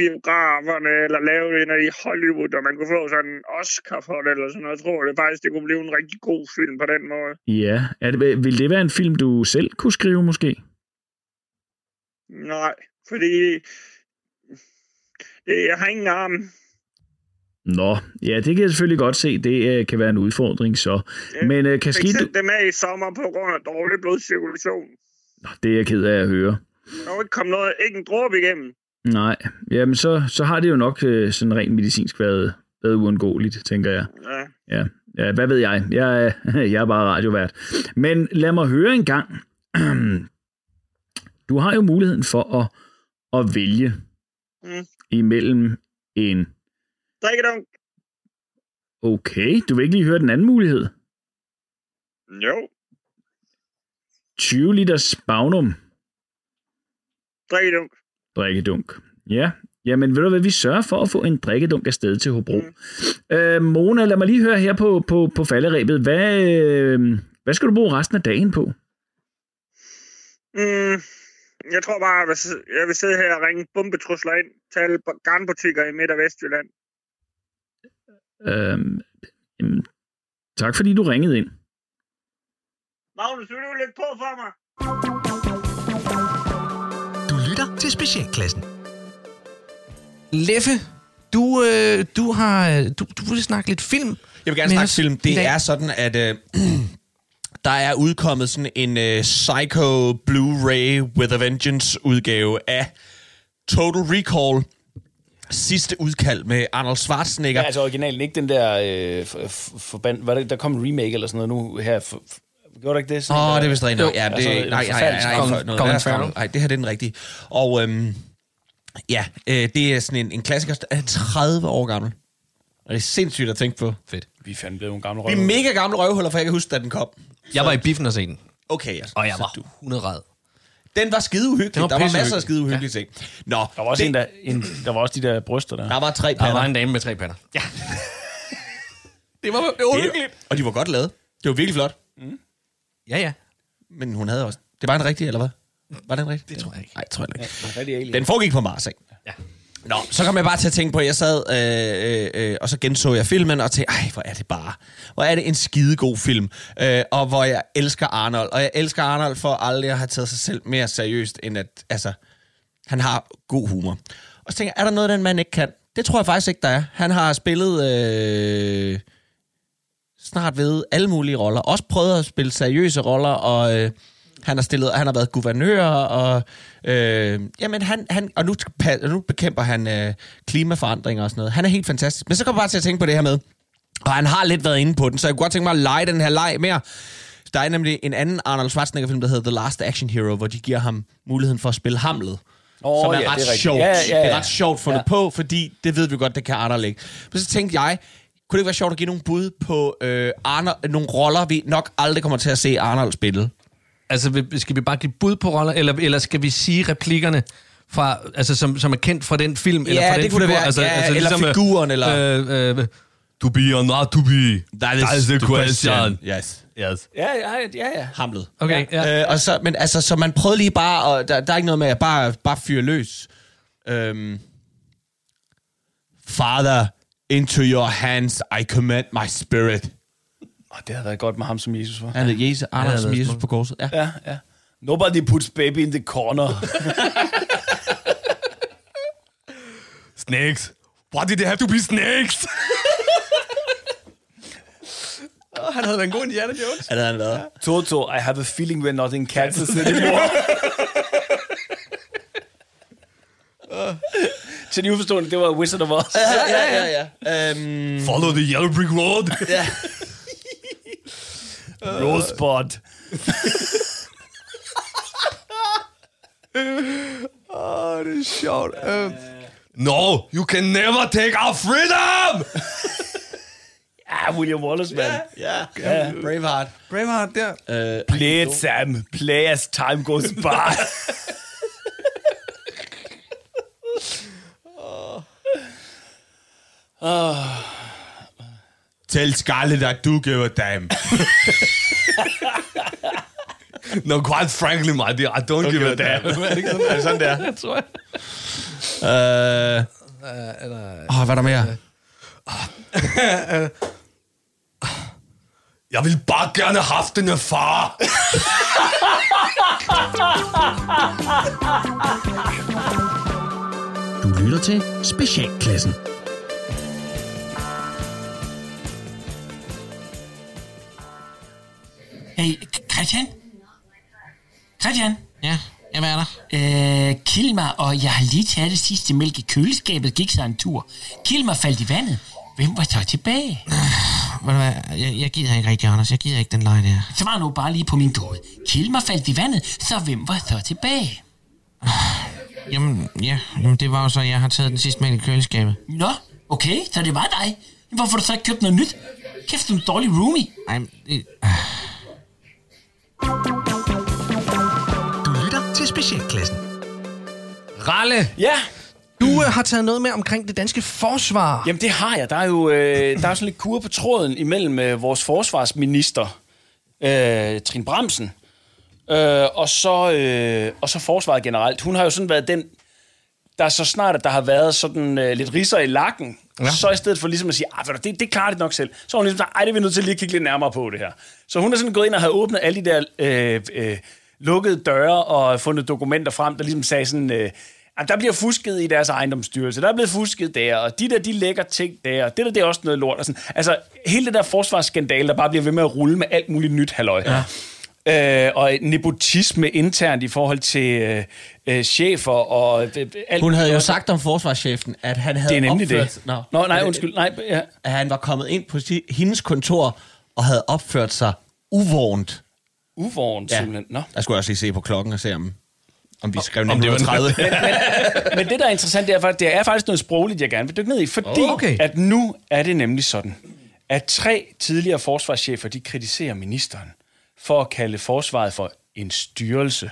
biograferne, eller lave det når i Hollywood, og man kunne få sådan en Oscar for det, eller sådan noget. Jeg tror det faktisk, det kunne blive en rigtig god film på den måde. Ja, er det, vil det være en film, du selv kunne skrive måske? Nej, fordi det, jeg har ingen arm. Nå, ja, det kan jeg selvfølgelig godt se. Det øh, kan være en udfordring så. Men øh, kan Fik ske, du... sendt dem af i sommer på grund af dårlig blodcirkulation. Nå, Ah, det er jeg ked af at høre. Der var ikke kommet noget, ikke en dråbe igennem. Nej, jamen så, så har det jo nok øh, sådan rent medicinsk været, været uundgåeligt, tænker jeg. Ja. Ja. ja, hvad ved jeg? Jeg, er- jeg er bare radiovært. Men lad mig høre en gang. Du har jo muligheden for at, at vælge Mm. imellem en... Drikkedunk. Okay, du vil ikke lige høre den anden mulighed. Jo. 20 liter spagnum Drikkedunk. drikkedunk. Ja, jamen ved du hvad, vi sørger for at få en drikkedunk afsted til Hobro. Øh, Mona, lad mig lige høre her på, på, på falderæbet. Hvad, øh, hvad skal du bruge resten af dagen på? Mm, jeg tror bare, jeg vil, sidde- jeg vil sidde her og ringe bombetrusler ind til alle bo- garnbutikker i Midt- og Vestjylland. Øh, jamen, tak fordi du ringede ind. Magnus, vil du lægge på for mig? Du lytter til Specialklassen. Leffe, du, øh, du har øh, du, du vil snakke lidt film. Jeg vil gerne med snakke os film. i Det dag. er sådan, at øh, der er udkommet sådan en øh, Psycho Blu-ray with a Vengeance udgave af Total Recall. Sidste udkald med Arnold Schwarzenegger. Ja, altså originalen, ikke den der øh, f- f- forband... Var det, der kom en remake eller sådan noget nu her. For, for, gjorde der ikke det? Sådan Åh, der- oh, det er vist rent nok. Ja, det, Altså, nej, en nej, nej, forfærdelig nej, for skam. noget. Colin Lad os Farrell. komme- Nej, det her det er den rigtige. Og øhm, ja, øh, det er sådan en, en klassiker, der er 30 år gammel. Og det er sindssygt at tænke på. Fedt. Vi er fandme blevet nogle gamle Vi er røver. mega gamle røvhuller, for jeg kan huske, da den kom. Jeg var i biffen og se den, Okay, altså. og jeg så var du- 100 rad. Den var skide uhyggelig. Den var der var masser pissehyggelig. af skide uhyggelige ja. ting. Nå, Der var også det, en, der, en, der var også de der bryster der. der var tre Der patter. var en dame med tre patter. Ja. det var det var uhyggeligt. Det, og de var godt lavet. Det var virkelig flot. Ja, ja. Men hun havde også... Det var en rigtig, eller hvad? Var den rigtig? Det tror jeg ikke. Nej, tror jeg ikke. Rigtig alien. Den foregik på Mars, ikke? Ja. Nå, så kom jeg bare til at tænke på, at jeg sad, øh, øh, øh, og så genså jeg filmen, og tænkte, ej, hvor er det bare, hvor er det en skidegod film, øh, og hvor jeg elsker Arnold, og jeg elsker Arnold for aldrig at have taget sig selv mere seriøst, end at, altså, han har god humor. Og så tænker jeg, er der noget, den mand ikke kan? Det tror jeg faktisk ikke, der er. Han har spillet øh, snart ved alle mulige roller, også prøvet at spille seriøse roller, og... Øh, han har stillet, han har været guvernør, og, øh, jamen han, han, og nu, pa- nu bekæmper han øh, klimaforandringer og sådan noget. Han er helt fantastisk. Men så kommer jeg bare til at tænke på det her med, og han har lidt været inde på den, så jeg kunne godt tænke mig at lege den her leg mere. Der er nemlig en anden Arnold Schwarzenegger-film, der hedder The Last Action Hero, hvor de giver ham muligheden for at spille Hamlet. Åh, som er ja, ret det er rigtigt. sjovt. Ja, ja, ja. Det er ret sjovt fundet ja. på, fordi det ved vi godt, det kan Arnold ikke. Men så tænkte jeg, kunne det ikke være sjovt at give nogle bud på øh, Arnold, nogle roller, vi nok aldrig kommer til at se Arnold spille? Altså, vi- skal vi bare give bud på roller, eller, eller skal vi sige replikkerne, fra, altså, som, som er kendt fra den film? eller Ja, fra den det kunne det figur? være. Ja, eller øh, figuren, eller- Øh, øh, to be or not to be. Yes. Yes. Ja, ja, ja, ja. Hamlet. Okay, ja. Øh, og så, men altså, så man prøvede lige bare, og der, der er ikke noget med at bare, bare fyre løs. Øhm, Father, into your hands I command my spirit. Åh, det havde været godt med ham som Jesus var. Han hed Jesus, Anders havde som været Jesus smukt. på korset. Ja. Ja, ja. Nobody puts baby in the corner. Snakes. What did they have to be snakes? Han havde været en god Indiana Jones. Ja, det havde han været. Toto, I have a feeling we're not in Kansas anymore. Til de uforstående, det var Wizard of Oz. Ja, ja, ja. Øhm, Follow the yellow brick road. Rosebud. no, you can never take our freedom! Ah, William Wallace, mand. ja, ja, Braveheart. Braveheart der. Øh, Play it, Sam. Play as time goes by. Tell Scarlett, at du give a damn. No, quite frankly, my dear, I don't, give a damn. Er det sådan der? Jeg tror jeg. Øh, Åh, hvad er der mere? Jeg vil bare gerne have haft en far. Du lytter til Specialklassen. Hey, Christian? Christian? Ja, jeg er der. Øh, Kilmer og jeg har lige taget det sidste mælk i køleskabet, gik sig en tur. Kilmer faldt i vandet. Hvem var så tilbage? Ved du hvad, jeg, jeg gider ikke rigtig, Anders. Jeg gider ikke den leg der. Svar nu bare lige på min kode. Kilmer faldt i vandet, så hvem var så tilbage? Jamen, ja, jamen, det var jo så, jeg har taget den sidste mælk i køleskabet. Nå, okay, så det var dig. Hvorfor har du så ikke købt noget nyt? Kæft, du er en dårlig roomie. Ej, men, det, Du lytter til Specialklassen. Ralle, Ja, du øh, har taget noget med omkring det danske forsvar. Jamen det har jeg. Der er jo øh, der er sådan lidt kur på tråden imellem øh, vores forsvarsminister, øh, Trine Bramsen, øh, og, så, øh, og så forsvaret generelt. Hun har jo sådan været den, der så snart, at der har været sådan øh, lidt riser i lakken, ja. så i stedet for ligesom at sige, "Ah, ved du, det, det klarer det nok selv, så har hun ligesom sagt, ej, det er vi nødt til lige at kigge lidt nærmere på det her. Så hun er sådan gået ind og har åbnet alle de der øh, øh, lukkede døre og fundet dokumenter frem, der ligesom sagde sådan, øh, "Jamen, der bliver fusket i deres ejendomsstyrelse, der er blevet fusket der, og de der, de lægger ting der, og det der, det er også noget lort. Og sådan. Altså, hele det der forsvarsskandale, der bare bliver ved med at rulle med alt muligt nyt, halløj. Ja. Øh, og nepotisme internt i forhold til øh, øh, chefer og øh, øh, alt Hun havde jo og- sagt om forsvarschefen, at han havde det er nemlig opført... det. Nå, Nå, nej, undskyld. Nej, ja. At han var kommet ind på si- hendes kontor og havde opført sig uvågent. Uvåren, ja. simpelthen. Nå. Der skulle jeg også lige se på klokken og se, om, om vi skrev det var 1930. Men det, der er interessant, det er, faktisk, det er faktisk noget sprogligt, jeg gerne vil dykke ned i, fordi Oh, okay. okay. at nu er det nemlig sådan, at tre tidligere forsvarschefer, de kritiserer ministeren for at kalde forsvaret for en styrelse.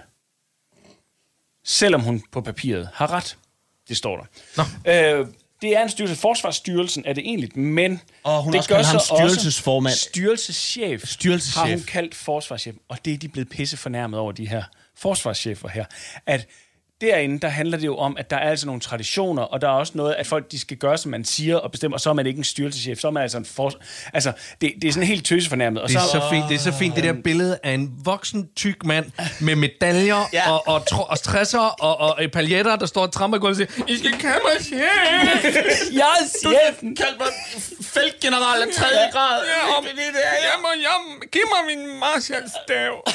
Selvom hun på papiret har ret. Det står der. Nå. Øh, det er en styrelse. Forsvarsstyrelsen er det egentlig, men... Og hun har det også kaldt ham styrelsesformand. Styrelseschef, Styrelseschef. har hun kaldt forsvarschef, og det er de blevet pisse fornærmet over, de her forsvarschefer her. At derinde, der handler det jo om, at der er altså nogle traditioner, og der er også noget, at folk de skal gøre, som man siger og bestemmer, og så er man ikke en styrelseschef, så er man altså en for... Altså, det, det er sådan helt tøsefornærmet. Og Det er, så, så fint, det er så fint, det der billede af en voksen, tyk mand med medaljer ja. og, og, tro, og stresser og, og, og paljetter, der står og tramper i gulvet og siger, I skal kalde mig chef! jeg er chefen! Kald mig feltgeneral af 3. grad. Ja, om, jeg må, jeg, giv mig min Marshall-stav.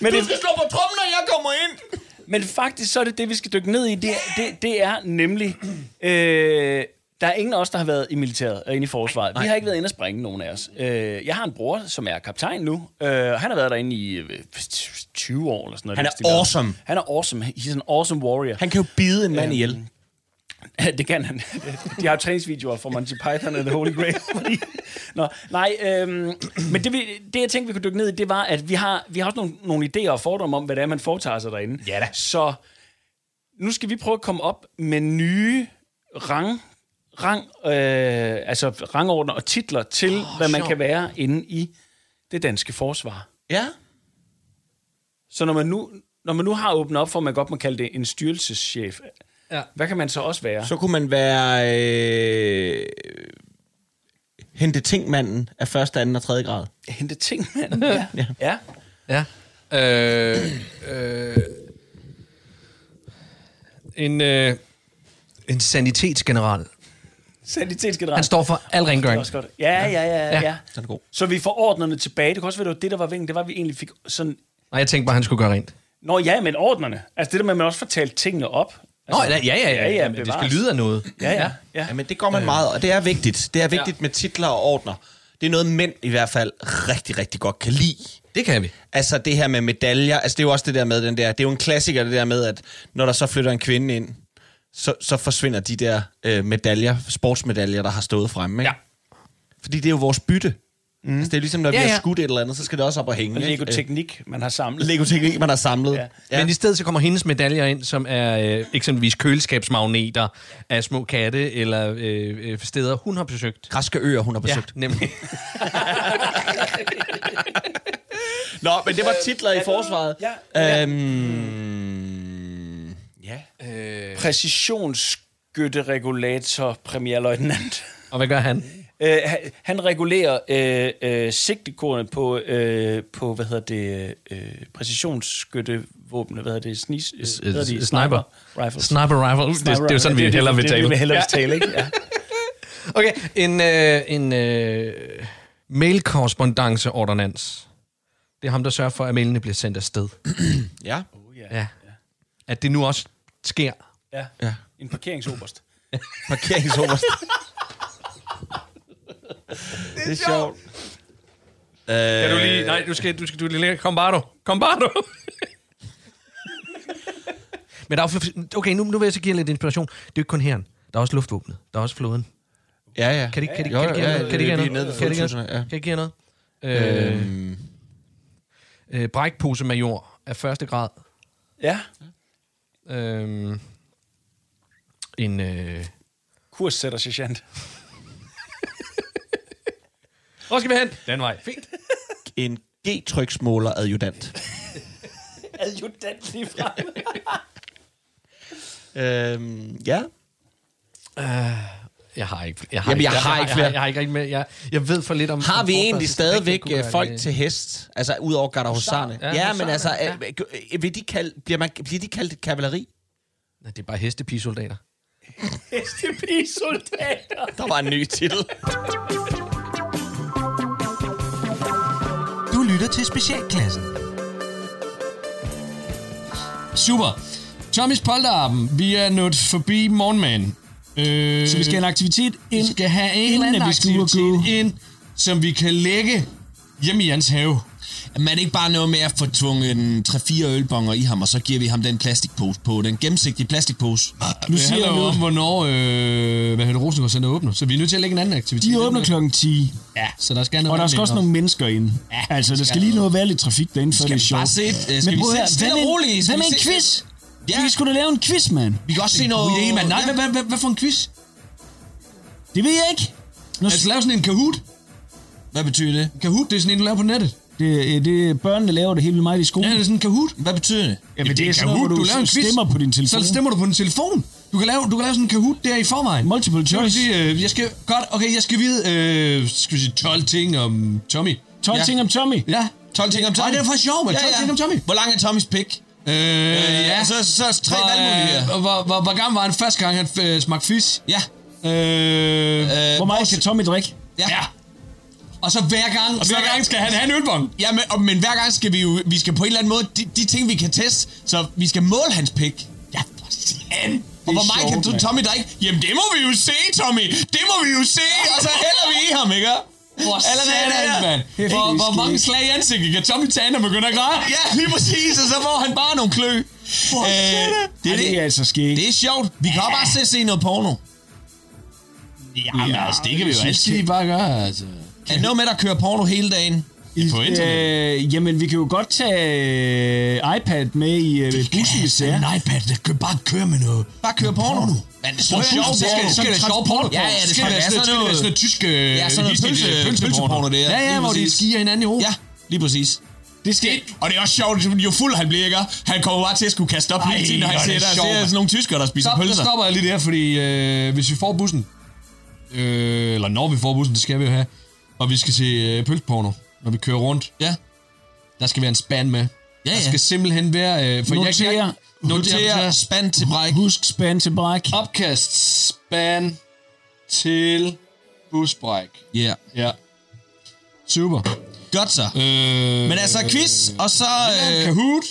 Men det, slå på trummen, når jeg kommer ind. Men faktisk så er det det, vi skal dykke ned i. Det, det, det er nemlig... Øh, der er ingen af os, der har været i militæret og inde i forsvaret. Vi har ikke været inde og springe, nogen af os. Øh, jeg har en bror, som er kaptajn nu. Øh, og han har været derinde i øh, 20 år eller sådan noget. Han er Den stil der. awesome. Han er awesome. He's an awesome warrior. Han kan jo bide en mand ihjel. Det kan han. De har jo træningsvideoer fra Monty Python og The Holy Grail. Fordi... Nå, nej, øhm, men det, vi, det, jeg tænkte, vi kunne dykke ned i, det var, at vi har, vi har også nogle, nogle idéer og fordomme om, hvad det er, man foretager sig derinde. Ja da. Så nu skal vi prøve at komme op med nye rang, rang, øh, altså rangordner og titler til, oh, hvad man kan være inde i det danske forsvar. Ja. Så når man nu, når man nu har åbnet op for, at man godt må kalde det en styrelseschef, ja. hvad kan man så også være? Så kunne man være... Øh, hente tingmanden af 1., 2. og 3. grad. Hente ting, mand. Ja. ja. ja. Ja. Øh, øh, en, øh, en sanitetsgeneral. Sanitetsgeneral. Han står for al Det er rengøring. også godt. Ja, ja, ja, ja. ja. Så er det god. Så vi får ordnerne tilbage. Det kan også være, det var det, der var vingen. Det var, at vi egentlig fik sådan... Nej, jeg tænkte bare, han skulle gøre rent. Nå ja, men ordnerne. Altså det der med, at man også får talt tingene op. Nå, Altså, ja, ja, ja. ja, ja det skal bevares. lyde af noget. Ja, ja, ja. Ja, men det går man meget, og det er vigtigt. Det er vigtigt Øh. ja. med titler og ordner. Det er noget, mænd i hvert fald rigtig, rigtig godt kan lide. Det kan vi. Altså det her med medaljer, altså det er jo også det der med den der, det er jo en klassiker det der med, at når der så flytter en kvinde ind, så, så forsvinder de der øh, medaljer, sportsmedaljer, der har stået fremme, ikke? Ja. Fordi det er jo vores bytte. Mm. Altså det er ligesom, når ja, Ja, vi har ja. skudt et eller andet, så skal det også op og hænge. Og ikke? Øh, Lego-teknik, man har samlet. Lego-teknik, man har samlet. Ja. Ja. Ja. Men i stedet så kommer hendes medaljer ind, som er øh, eksempelvis køleskabsmagneter af små katte, eller øh, øh, steder, hun har besøgt. Græske øer, hun har besøgt. Ja. nemlig. Nå, men det var titler Øh, i forsvaret. ja, ja. Øhm, ja. Præcisionsskytteregulator, premierløjtnant. Og hvad gør han? Øh, han- han regulerer øh, øh, sigtekornet på, øh, på, hvad hedder det, øh, præcisionsskyttevåben, hvad hedder det, snis, øh, hvad hedder de? s- sniper. Rifles. Sniper rifle. Det, det er jo sådan, vi hellere vil Det er det, vi tale. hellere vil tale, ikke? Ja. Okay, en, øh, en øh, Mailkorrespondanceordonans. Det er ham, der sørger for, at mailene bliver sendt afsted. Ja. Ja. At det nu også sker. Ja. Ja. En parkeringsoberst. Parkeringsoverst. det er sjovt. Kan du lige... Nej, du skal, du skal du lige... Kom bare du. Kom bare du. Men der er jo... Okay, nu, nu vil jeg så give jer lidt inspiration. Det er jo ikke kun herren. Der er også luftvåbnet. Der er også flåden. Ja, ja. Kan det kan det- Jo, kan det give ja, jer noget? ja, Kan det give jer noget? lige ned ved Kan det give jer 4000'erne, ja. noget? Kan det give jer noget? Øh, Øhm, øh, brækposemajor af første grad. Ja. Øh, en... Øh... Kurssætter sergeant. Hvor skal vi hen? Den vej. Fint. en G-tryksmåler adjudant. Adjudant lige fra. øhm, ja. Jeg har ikke, jeg har Jamen, ikke, jeg har ikke Jeg, flere. jeg, jeg har ikke rigtig med. Jeg, jeg ved for lidt om... Har om vi egentlig forsvarseffekt, der stadigvæk kunne øh, gøre folk det. til hest? Altså, ud over Gardahussarne? Ja, Ja, ja, men husarerne, altså, ja. øh, øh, vil de kalde, bliver, man, bliver de kaldt kavaleri? Nej, det er bare hestepigesoldater. Hestepigesoldater. Der var en ny titel. Du lytter til Specialklassen. Super. Tommys polterappen. Vi er nået forbi morgenmagen. Øh, Så vi skal have en aktivitet ind. skal have en eller inden, anden at vi skal ud og aktivitet gå. ind, som vi kan lægge hjemme i hans have. Jamen, er det ikke bare noget med at få tvunget en 3-4 ølbonger i ham, og så giver vi ham den plastikpose på, den gennemsigtige plastikpose? Nu siger siger jeg jeg noget. om, hvornår øh, hvad hedder det, Rosengård Center åbner, så vi er nødt til at lægge en anden aktivitet. De ind. åbner klokken 10, Ja, så der skal noget og der skal også nogle mennesker ind. Altså, der skal lige noget at være lidt trafik derinde, før det er vi bare sjovt. se et- øh, skal vi prøv at se høre, et stille hvad med og en- roligt? Skal Hvad med vi en se- quiz? Ja. Vi skulle da lave en quiz, mand. Vi kan også se God noget... idé, mand. Nej, hvad, hvad, hvad, hvad for en quiz? Det ved jeg ikke. Nu, Altså, lave sådan en Kahoot. Hvad betyder det? En Kahoot, det er sådan en, du laver på nettet. det, øh, det, er børnene laver det helt vildt meget i Ja, skolen. det er sådan en Kahoot. Hvad betyder det? Jamen, det, er sådan Kahoot, noget, hvor du du, laver en quiz. stemmer på din Så telefon. stemmer du på din telefon. Du kan lave, du kan lave sådan en Kahoot der i forvejen. Multiple Så kan du choice. sige, øh, jeg skal, godt, okay, jeg skal vide, øh, skal vi sige 12 ting om Tommy. 12 Ja. ting om Tommy. Ja. 12 ting om Tommy. Ej, det er faktisk sjovt, mand. 12 ting om Tommy. Hvor lang er Tommys pik? Øh, ja. Så, så er tre Hvor, valgmuligheder. øh, hvor, hvor, hvor gammel var han første gang, han øh, smagte fisk? Ja. Øh, Øh, Hvor meget kan Tommy drikke? Ja. ja. og så hver gang, og hver så- gang skal han have en ølbong. Ja, men, og, men hver gang skal vi jo, vi skal på en eller anden måde, de, de ting vi kan teste, så vi skal måle hans pik. Ja, for satan. Og hvor meget kan du, Tommy drikke? Jamen, det må vi jo se, Tommy. Det må vi jo se, og så hælder vi i ham, ikke? Hvor Eller det er det satan, der. mand. Hvor, hvor mange slag i ansigtet kan Tommy tage, når han begynder at græde? Ja, lige præcis, og så får han bare nogle klø. Øh, det, Ej, er det er det, altså skægt. det er sjovt. Vi kan også bare se, se noget porno. Jamen, altså, det kan vi jo altid bare gøre, altså. Er det noget med, at køre porno hele dagen? På internet. Øh, jamen, vi kan jo godt tage øh, iPad med i øh, bussen, hvis det er. En iPad, der kan bare køre med noget. Bare køre porno. Men det er sjovt. det skal, det skal være sjov porno. Ja, ja, det skal være sådan noget. sådan noget tysk øh, Ja, sådan noget hiske- pølse- pølseporno. pølseporno, det er. Ja, ja, Lige hvor de præcis. skier hinanden i hovedet. Ja, lige præcis. Det skal... Og det er også sjovt, ligesom jo fuld han bliver, ikke? Han kommer bare til at skulle kaste op hele tiden, når han hvor er ser, det der sjovt, ser mand. sådan nogle tyskere, der spiser Stop, nu pølser. stopper jeg lige der, fordi øh, hvis vi får bussen, øh, eller når vi får bussen, det skal vi jo have, og vi skal se øh, pølseporno, når vi kører rundt, Ja. der skal være en span med. Ja, der ja. skal simpelthen være... Øh, for jeg kan- Notere. notere, Noter spand til bræk. Husk spand til bræk. opkast, span til busbræk. Ja. Ja. Super. Godt så. Øh, Men altså, quiz, og så, øh, Kahoot.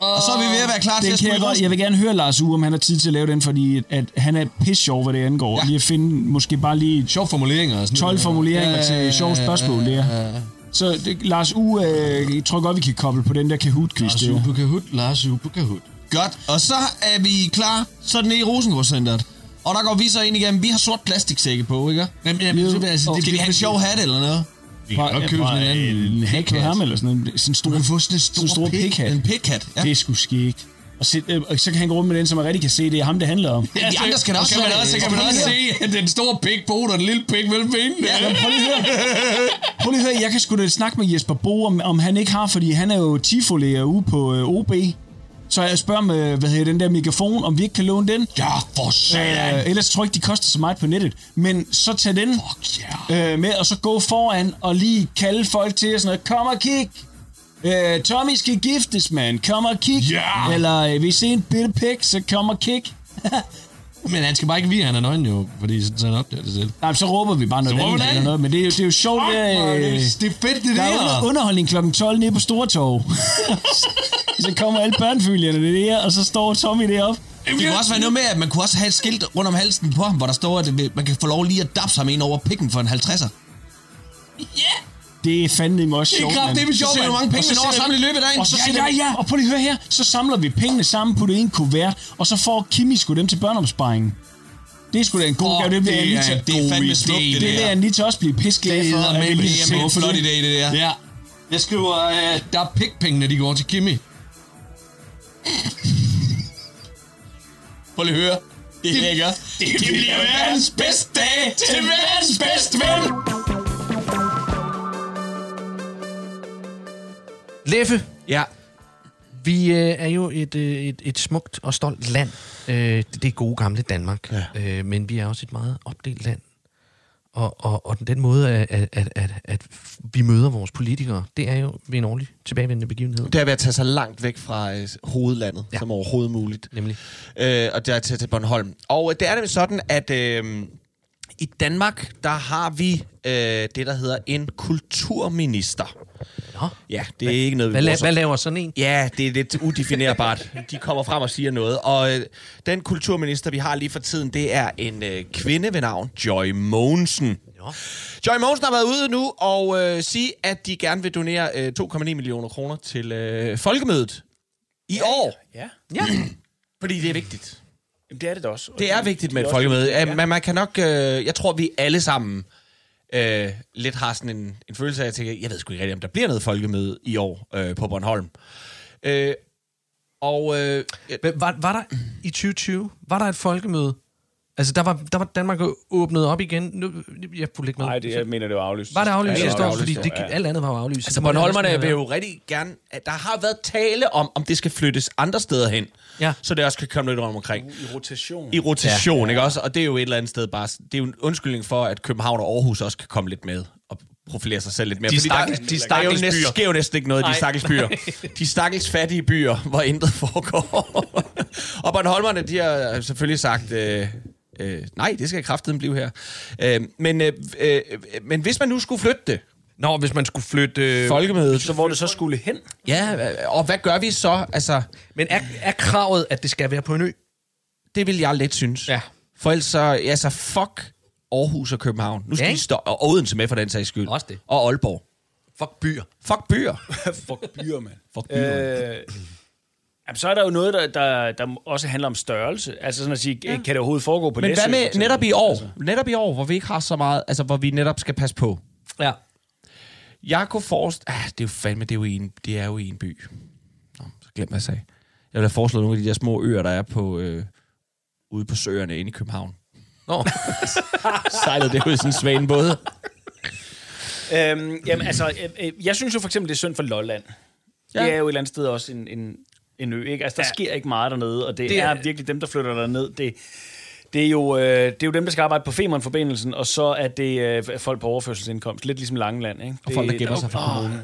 og så er vi ved at være klar til Den at kan spille jeg, godt, resten. jeg vil gerne høre Lars U, om han har tid til at lave den, fordi at han er pisse sjov, hvad det angår. Ja. Lige at finde måske bare lige Sjov formuleringer og sådan 12 noget. formuleringer til sjove spørgsmål, det er. Så det, Lars U, øh, jeg tror godt, vi kan koble på den der Kahoot-quiz. Lars det er jo. Uge på Kahoot, Lars Uge på Kahoot. Godt, og så er vi klar, så er det nede i Rosengårdscenteret. Og der går vi så ind igennem, vi har sort plastiksække på, ikke? Jamen, jamen, så, altså, det, Skal vi have en sjov hat eller noget? Vi kan godt købe sådan en anden. en hat på ham, eller sådan en sådan en stor, kan få sådan en sådan en stor pik-hat. En pikhat, ja. Det er sgu skægt. Og så, øh, og så kan han gå rundt med den, som man rigtig kan se, det er ham, det handler om. Ja, de andre skal da også kan man være- også, så kan man også se, at den store pik på hovedet og den lille pik mellem benene. Ja. Prøv lige at høre. Prøv lige at høre, jeg kan sgu da snakke med Jesper Bo, om, om han ikke har, fordi han er jo tifolæger ude på øh, OB. Så jeg spørger med, hvad hedder den der mikrofon, om vi ikke kan låne den. ja, for satan. Øh, ellers tror jeg ikke, de koster så meget på nettet. Men så tag den yeah. øh, med, og så gå foran og lige kalde folk til og sådan noget. Kom og kig! Øh, Tommy skal giftes, mand. Kom og kig. Ja. Eller øh, hvis I er en bitte pik, så kom og kig. Men han skal bare ikke vide, at han er nøgen jo, fordi sådan så han opdager det selv. Nej, så råber vi bare noget råber vi andet det. eller noget, men det er, jo- det er jo sjovt, det, Åh, øh, det er fedt, det der er under, underholdning kl. 12 nede på Stortorv. så kommer alle børnefamilierne det der, og så står Tommy deroppe. Det kunne også være noget med, at man kunne også have et skilt rundt om halsen på ham, hvor der står, at øh, man kan få lov lige at dapse ham ind over pikken for en 50'er. Det er fandme også sjovt, kraft, mand. det er vi sjovt, hvor mange penge Og så man når at sætter samle vi- i løbet af dagen. Og så Ja, ja, ja, ja. Og prøv lige at høre her. Så samler vi pengene sammen, putter det i en kuvert, og så får Kimi sgu dem til børneopsparingen. Det er sgu da en god Fuck, gave. Det bliver det jeg lige er- til det er fandme God idé, smukt, det Det der. lader jeg lige til også blive pisket Det af for. hedder at med vi lige en selv- flot idé, det der. Ja. Jeg skriver, øh, at der er pikpengene, de går til Kimmy. Prøv lige at høre. Det er lækkert. Det bliver verdens bedste dag til verdens bedste ven. Leffe, Ja. vi øh, er jo et, øh, et, et smukt og stolt land. Øh, det, det er gode gamle Danmark. Ja. Øh, men vi er også et meget opdelt land. Og, og, og den måde, at, at, at, at vi møder vores politikere, det er jo ved en årlig tilbagevendende begivenhed. Det er ved at tage sig langt væk fra øh, hovedlandet, ja. som overhovedet muligt. Nemlig. Øh, og det er til, til Bornholm. Og øh, det er nemlig sådan, at øh, i Danmark, der har vi øh, det, der hedder en kulturminister. Nå. Ja, det er ikke noget, vi Hvad, la- bruger så- hvad laver sådan en? Ja, det er lidt udefinerbart. De kommer frem og siger noget. Og øh, den kulturminister, vi har lige for tiden, det er en øh, kvinde ved navn Joy Mogensen. Joy Mogensen har været ude nu og øh, sige, at de gerne vil donere øh, 2,9 millioner kroner til øh, folkemødet i år. Ja, Ja. Fordi det er vigtigt. Jamen, det er det da også. Det er vigtigt med et folkemøde. Ja. Men man kan nok... Øh, jeg tror, vi alle sammen øh, lidt har sådan en, en følelse af, at tænke, jeg ved sgu ikke rigtigt, om der bliver noget folkemøde i år øh, på Bornholm. Øh, og øh, Hva- Var, var der i 2020, var der et folkemøde? Altså, der var, der var Danmark åbnet op igen. Nu, jeg fulgte ikke med. Nej, det, jeg mener, det var aflyst. var det aflyst Ja, sidste år? aflyst Fordi i år, det, ja. alt andet var jo aflyst. altså, Bornholmerne vil jo rigtig gerne... At der har været tale om, om det skal flyttes andre steder hen, Ja. så det også kan komme lidt rundt omkring. I rotation. I rotation, ja. ikke også? Og det er jo et eller andet sted bare... Det er jo en undskyldning for, at København og Aarhus også kan komme lidt med og profilere sig selv lidt mere. De Fordi der- stakkels- de der er jo stakkels næsten- byer. sker jo næsten ikke noget i de Nej. stakkels byer. De stakkels fattige byer, hvor intet foregår. og Bornholmerne, de har selvfølgelig sagt, øh, øh, nej, det skal kraftedeme blive her. Øh, men, øh, øh, men hvis man nu skulle flytte det, Nå, hvis man skulle flytte... Øh, folkemødet, Så hvor det så skulle hen? ja, øh, og hvad gør vi så? Altså, men er, er kravet, at det skal være på en ø? det vil jeg lidt synes. Ja. For ellers så, ja, så fuck Aarhus og København. Nu skal Ja, ja, de ikke? stå, og Odense med for den sags skyld. Også det. Og Aalborg. Fuck byer. Fuck byer. Fuck byer, mand. Fuck byer. Øh, Øh, jamen, så er der jo noget, der, der, der også handler om størrelse. Altså sådan at sige, ja. kan det overhovedet foregå på Men Læsø, hvad for med eksempel? netop i år? Altså. Netop i år, hvor vi ikke har så meget, altså hvor vi netop skal passe på. Ja. Jeg kunne forestille... Ah, det er jo fandme, det er jo i en, det er jo i en by. Nå, så glem hvad jeg sagde. Jeg vil have foreslået nogle af de der små øer, der er på... Øh, ude på søerne inde i København. Nå. Sejlede det ud i sådan en svanebåde. Øhm, jamen, altså, øh, øh, jeg synes jo for eksempel, det er synd for Lolland. Ja. Ja. Det er jo et eller andet sted også en, en, en ø, ikke? Altså, der ja. sker ikke meget dernede, og det, Det det er- er... er virkelig dem, der flytter derned. Det, det, er jo, øh, det er jo dem, der skal arbejde på Femern-forbindelsen, og så er det øh, folk på overførselsindkomst. Lidt ligesom Langeland, ikke? Det, Og folk, der gemmer sig fra kommunen.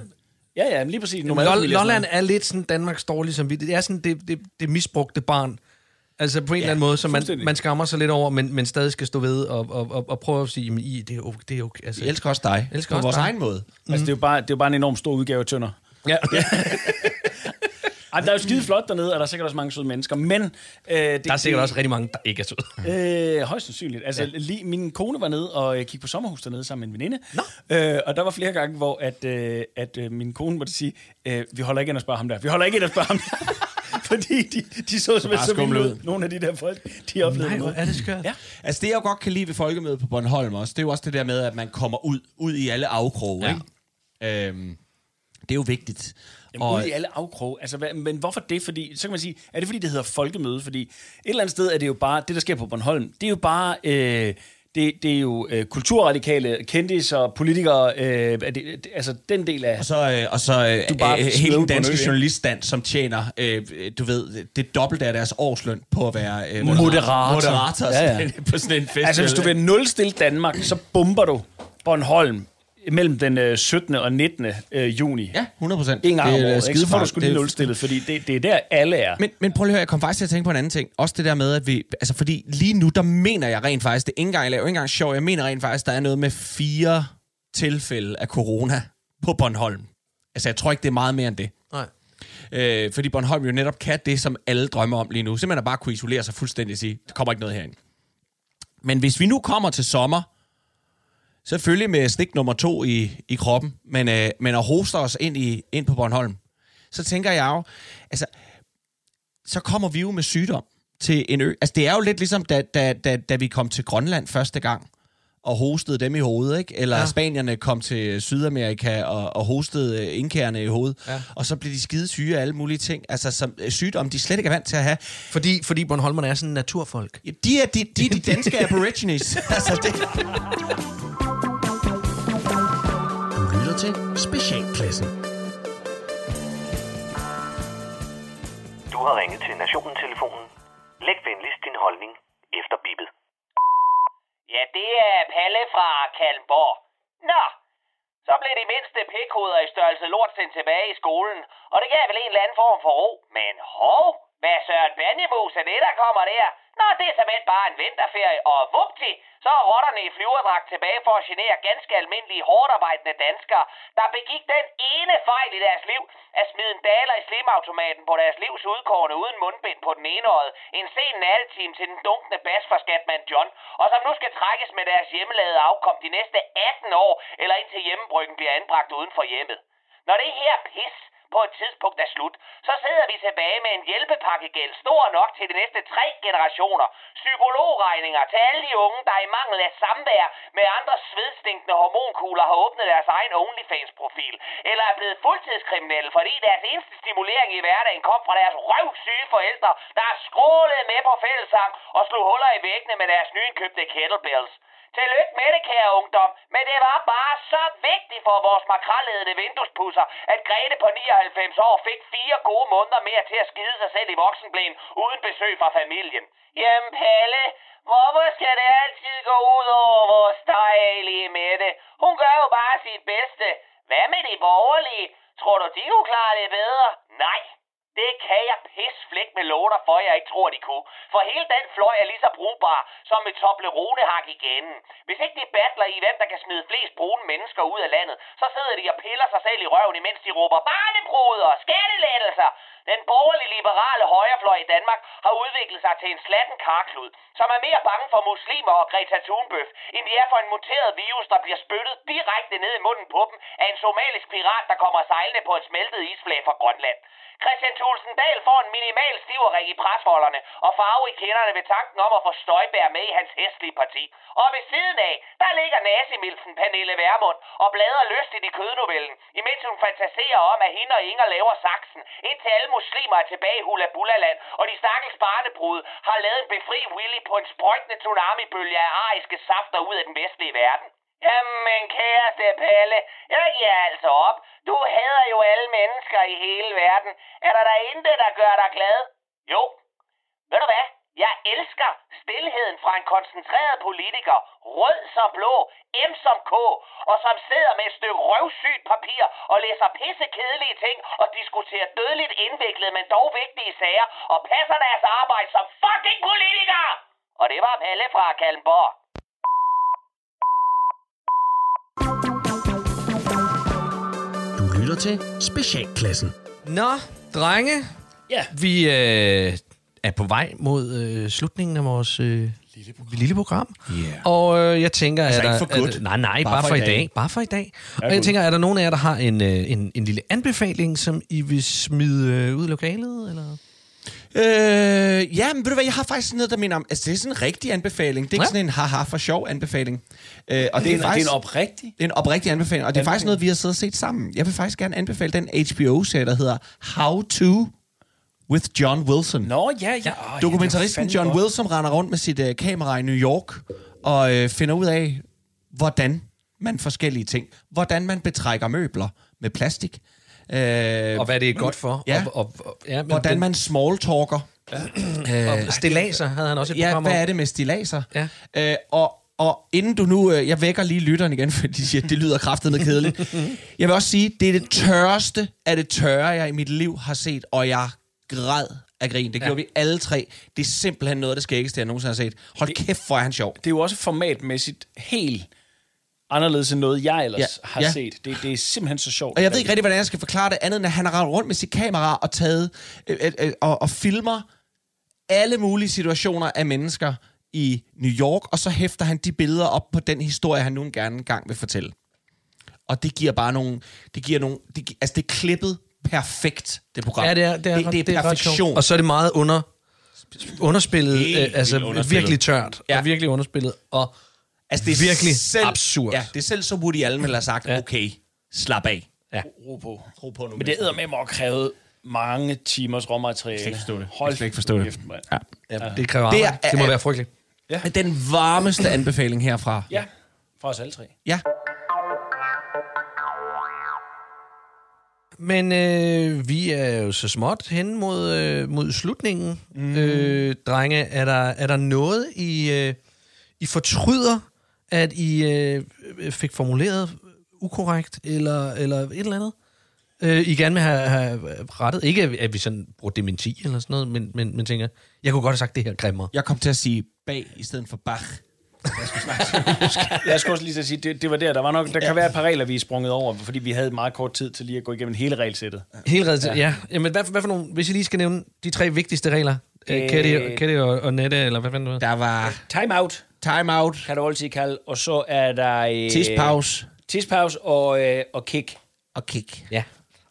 Ja, ja, men lige præcis. Lol- Nomadefamilier og sådan Lolland er lidt sådan Danmarks dårlige samvittighed. Det er sådan det, det, det misbrugte barn. Altså på en ja, eller anden måde, som man, fuldstændig. man skammer sig lidt over, men, men stadig skal stå ved og, og, og, og prøve at sige, at det er okay. Det er okay. Altså, Vi elsker også dig. Elsker på også vores dig. egen måde. Altså, det er jo bare, det er jo bare en enorm stor udgave af Tønder. Ja. Ej, men der er jo skide flot dernede, og der er sikkert også mange søde mennesker, men... Øh, det, Der er sikkert også rigtig mange, der ikke er søde. Øh, højst sandsynligt. Altså, ja. lige, min kone var nede og øh, kiggede på sommerhus dernede sammen med en veninde. Øh, og der var flere gange, hvor at, øh, at øh, min kone måtte sige, øh, vi holder ikke ind og spørger ham der. Vi holder ikke ind og spørger ham der. Fordi de, de så simpelthen så vildt ud. Nogle af de der folk, de oplevede Nej, hvor noget. er det skørt. Ja. Altså det, jeg jo godt kan lide ved folkemødet på Bornholm også, det er jo også det der med, at man kommer ud, ud i alle afkroge, ja. ikke? Øhm, det er jo vigtigt. Jamen, ude i alle afkroge. Altså, hvad, men hvorfor det? Fordi, så kan man sige, er det fordi, det hedder folkemøde? Fordi et eller andet sted er det jo bare, det der sker på Bornholm, det er jo bare... Øh, det, det er jo øh, kulturradikale, kendtiser, politikere, øh, er det, det, altså den del af... Og så, øh, og så øh, Du er bare øh, slået hele på en den ø, danske ikke? journaliststand, som tjener, øh, øh, du ved, det dobbelte af deres årsløn på at være øh, Moderator. moderator ja, Ja, ja. ja. på sådan en festival. Altså, hvis du vil nulstille Danmark, så bomber du Bornholm mellem den øh, 17. og 19. Øh, juni. Ja, 100 procent. En gang om Det er året, ikke? så får du skidefart. sgu Det lige er- nulstillet, fordi det, det er der, alle er. Men, men prøv lige at høre, jeg kom faktisk til at tænke på en anden ting. Også det der med, at vi... Altså, fordi lige nu, der mener jeg rent faktisk... Det er ikke engang, jeg laver ikke engang sjov. Jeg mener rent faktisk, der er noget med fire tilfælde af corona på Bornholm. Altså, jeg tror ikke, det er meget mere end det. Nej. Øh, fordi Bornholm jo netop kan det, som alle drømmer om lige nu. Simpelthen at bare kunne isolere sig fuldstændig og sige, der kommer ikke noget herind. Men hvis vi nu kommer til sommer, selvfølgelig med stik nummer to i, i kroppen, men, øh, men at hoste os ind, i, ind på Bornholm, så tænker jeg jo, altså, så kommer vi jo med sygdom til en ø. Altså, det er jo lidt ligesom, da, da, da, da vi kom til Grønland første gang, og hostede dem i hovedet, ikke? Eller ja. spanierne kom til Sydamerika og, og hostede øh, inkærerne i hovedet, ja. og så blev de skide syge af alle mulige ting, altså som øh, sygdomme, de slet ikke er vant til at have. Fordi, fordi Bornholmerne er sådan en naturfolk. Ja, De er de, de, er de danske aborigines. altså, det, Du lytter til Specialklassen. Du har ringet til Nationen-telefonen. Læg venligst din holdning efter bippet. Ja, det er Palle fra Kalmborg. Nå, så blev de mindste pikhoveder i størrelse lort sendt tilbage i skolen, og det gav vel en eller anden form for ro. Men hov, hvad Søren Banjemus er det, der kommer der? Nå, det er såmænd bare en vinterferie, og vupti, så er rotterne i flyverdragt tilbage for at genere ganske almindelige hårdarbejdende danskere, der begik den ene fejl i deres liv, at smide en daler i slimautomaten på deres livs udkårne uden mundbind på den ene øje, en sen nattetime til den dunkende bas fra skatmand John, og som nu skal trækkes med deres hjemmelavede afkom de næste 18 år, eller indtil hjemmebryggen bliver anbragt uden for hjemmet. Når det her pis på et tidspunkt er slut, så sidder vi tilbage med en hjælpepakkegæld stor nok til de næste tre generationer. Psykologregninger til alle de unge, der i mangel af samvær med andre svedstinkende hormonkugler har åbnet deres egen OnlyFans-profil. Eller er blevet fuldtidskriminelle, fordi deres eneste stimulering i hverdagen kom fra deres røvsyge forældre, der har skrålet med på fællesang og slog huller i væggene med deres nyindkøbte kettlebells. Tillykke med det, kære ungdom, men det var bare så vigtigt for vores makralledende vinduespusser, at Grete på 99 år fik fire gode måneder mere til at skide sig selv i voksenblæen uden besøg fra familien. Jamen Palle, hvorfor skal det altid gå ud over vores dejlige Mette? Hun gør jo bare sit bedste. Hvad med de borgerlige? Tror du, de kunne klare det bedre? Nej, det kan jeg pisflæk med låter for, jeg ikke tror, de kunne. For hele den fløj er lige så brugbar som et Toblerone-hak i ganen. Hvis ikke de battler i, hvem der kan smide flest brune mennesker ud af landet, så sidder de og piller sig selv i røven, imens de råber barnebruder og skattelettelser. Den borgerlige liberale højrefløj i Danmark har udviklet sig til en slatten karklud, som er mere bange for muslimer og Greta Thunbøf, end de er for en muteret virus, der bliver spyttet direkte ned i munden på dem af en somalisk pirat, der kommer sejlende på et smeltet isflag fra Grønland. Christian Thulsen Dahl får en minimal stiverik i presholderne og farve i kinderne ved tanken om at få Støjbær med i hans hæslige parti. Og ved siden af, der ligger nazimilfen Pernille Vermund og bladrer lystigt i kødnovellen, imens hun fantaserer om, at hende og Inger laver saksen, indtil alle muslimer er tilbage i Hula Bulaland, og de stakkels barnebrud har lavet en befri Willy på en sprøjtende tsunamibølge af ariske safter ud af den vestlige verden. Jamen, kæreste Palle, jeg giver altså op. Du hader jo alle mennesker i hele verden. Er der da intet, der gør dig glad? Jo. Ved du hvad? Jeg elsker stillheden fra en koncentreret politiker, rød som blå, M som K, og som sidder med et stykke røvsygt papir og læser pisse kedelige ting og diskuterer dødeligt indviklede, men dog vigtige sager, og passer deres arbejde som fucking politikere! Og det var Palle fra Kalmborg. Du lytter til Specialklassen. Nå, drenge. Ja. Vi øh, er på vej mod øh, slutningen af vores øh, lille program. Lille program. Yeah. Og øh, jeg tænker, Altså er der, ikke for er godt. der- nej, nej, bare, bare for, i dag. Bare for i dag. og jeg god. tænker, er der nogen af jer, der har en, øh, en, en lille anbefaling, som I vil smide øh, ud i lokalet? Eller? Øh, ja, men ved du hvad, jeg har faktisk noget, der minder om... Altså, det er sådan en rigtig anbefaling. Det er ikke Ja. sådan en haha for sjov anbefaling. Øh, og det, Det er er en- faktisk, det er en oprigtig? Det er en oprigtig anbefaling, og det er faktisk Anbefaling. noget, vi har siddet og set sammen. Jeg vil faktisk gerne anbefale den HBO-serie, der hedder How To with John Wilson. Nå, ja, ja. Oh, Dokumentaristen John Wilson render rundt med sit øh, kamera i New York og øh, finder ud af, hvordan man forskellige ting, hvordan man betrækker møbler med plastik. Øh, Og hvad det er godt for? Ja. Og, og, og, ja, men hvordan den- man smalltalker. Og stillaser havde han også et Ja, program hvad om. er det med stilaser? Ja. Øh, og Og inden du nu... øh, Jeg vækker lige lytteren igen, fordi de siger, at det lyder kraftedeme kedeligt. Jeg vil også sige, det er det tørreste af det tørre, jeg i mit liv har set, og jeg græd af grin. Det gjorde vi alle tre. Det er simpelthen noget af det skæggeste, jeg nogensinde har set. Hold kæft, hvor er han sjov. Det er jo også formatmæssigt helt anderledes end noget, jeg ellers Ja, ja. har ja. ja. set. Det, det er simpelthen så sjovt. Og jeg ved ikke rigtig, hvordan jeg skal forklare det andet, end at han har rendt rundt med sit kamera og taget øh, øh, øh, og, og filmer alle mulige situationer af mennesker i New York, og så hæfter han de billeder op på den historie, han nu gerne gang vil fortælle. Og det giver bare nogle... Det giver nogle det, gi- altså, det er klippet perfekt, det program. Ja, det er, det er, det, det er ret sjovt. perfektion. Og så er det meget under, underspillet, Helt øh, altså vildt underspillet. virkelig tørt, ja. og virkelig underspillet, og altså, det er virkelig selv, absurd. Ja, det er selv så Woody Allen ville have sagt, ja. okay, slap af. Ja. Ro på. Ro på nu. Men det æder med mig at kræve mange timers råmateriale. Jeg kan ikke forstå det. Hold jeg kan ikke forstå det. Ja. Ja, det kræver arbejde. Det, er, det må være frygteligt. Ja. Den varmeste anbefaling herfra. Ja, for os alle tre. Ja. Men øh, vi er jo så småt hen mod, øh, mod slutningen. Mm. Øh, drenge, er der, er der noget, I, øh, I fortryder, at I øh, fik formuleret ukorrekt, eller, eller et eller andet? Øh, I gerne vil have, have rettet. Ikke, at vi- at vi sådan bruger dementi eller sådan noget, men, men, men tænker, jeg kunne godt have sagt det her grimmere. Jeg kom til at sige bag i stedet for bach. Jeg skulle også lige så sige, det, det var der. Der, var nok, der kan være et par regler, vi er sprunget over, fordi vi havde meget kort tid til lige at gå igennem hele regelsættet. Helt ret, ja. ja. Jamen, hvad, for- hvad for nogle, hvis I lige skal nævne de tre vigtigste regler, øh, Katie, Øh, Katie og, og Nette, eller hvad fanden du Der var... Time out. Time out. Kan du altid kalde. Og så er der... Øh, Tidspause. Tidspause og, øh, og kick. Og kick. Ja.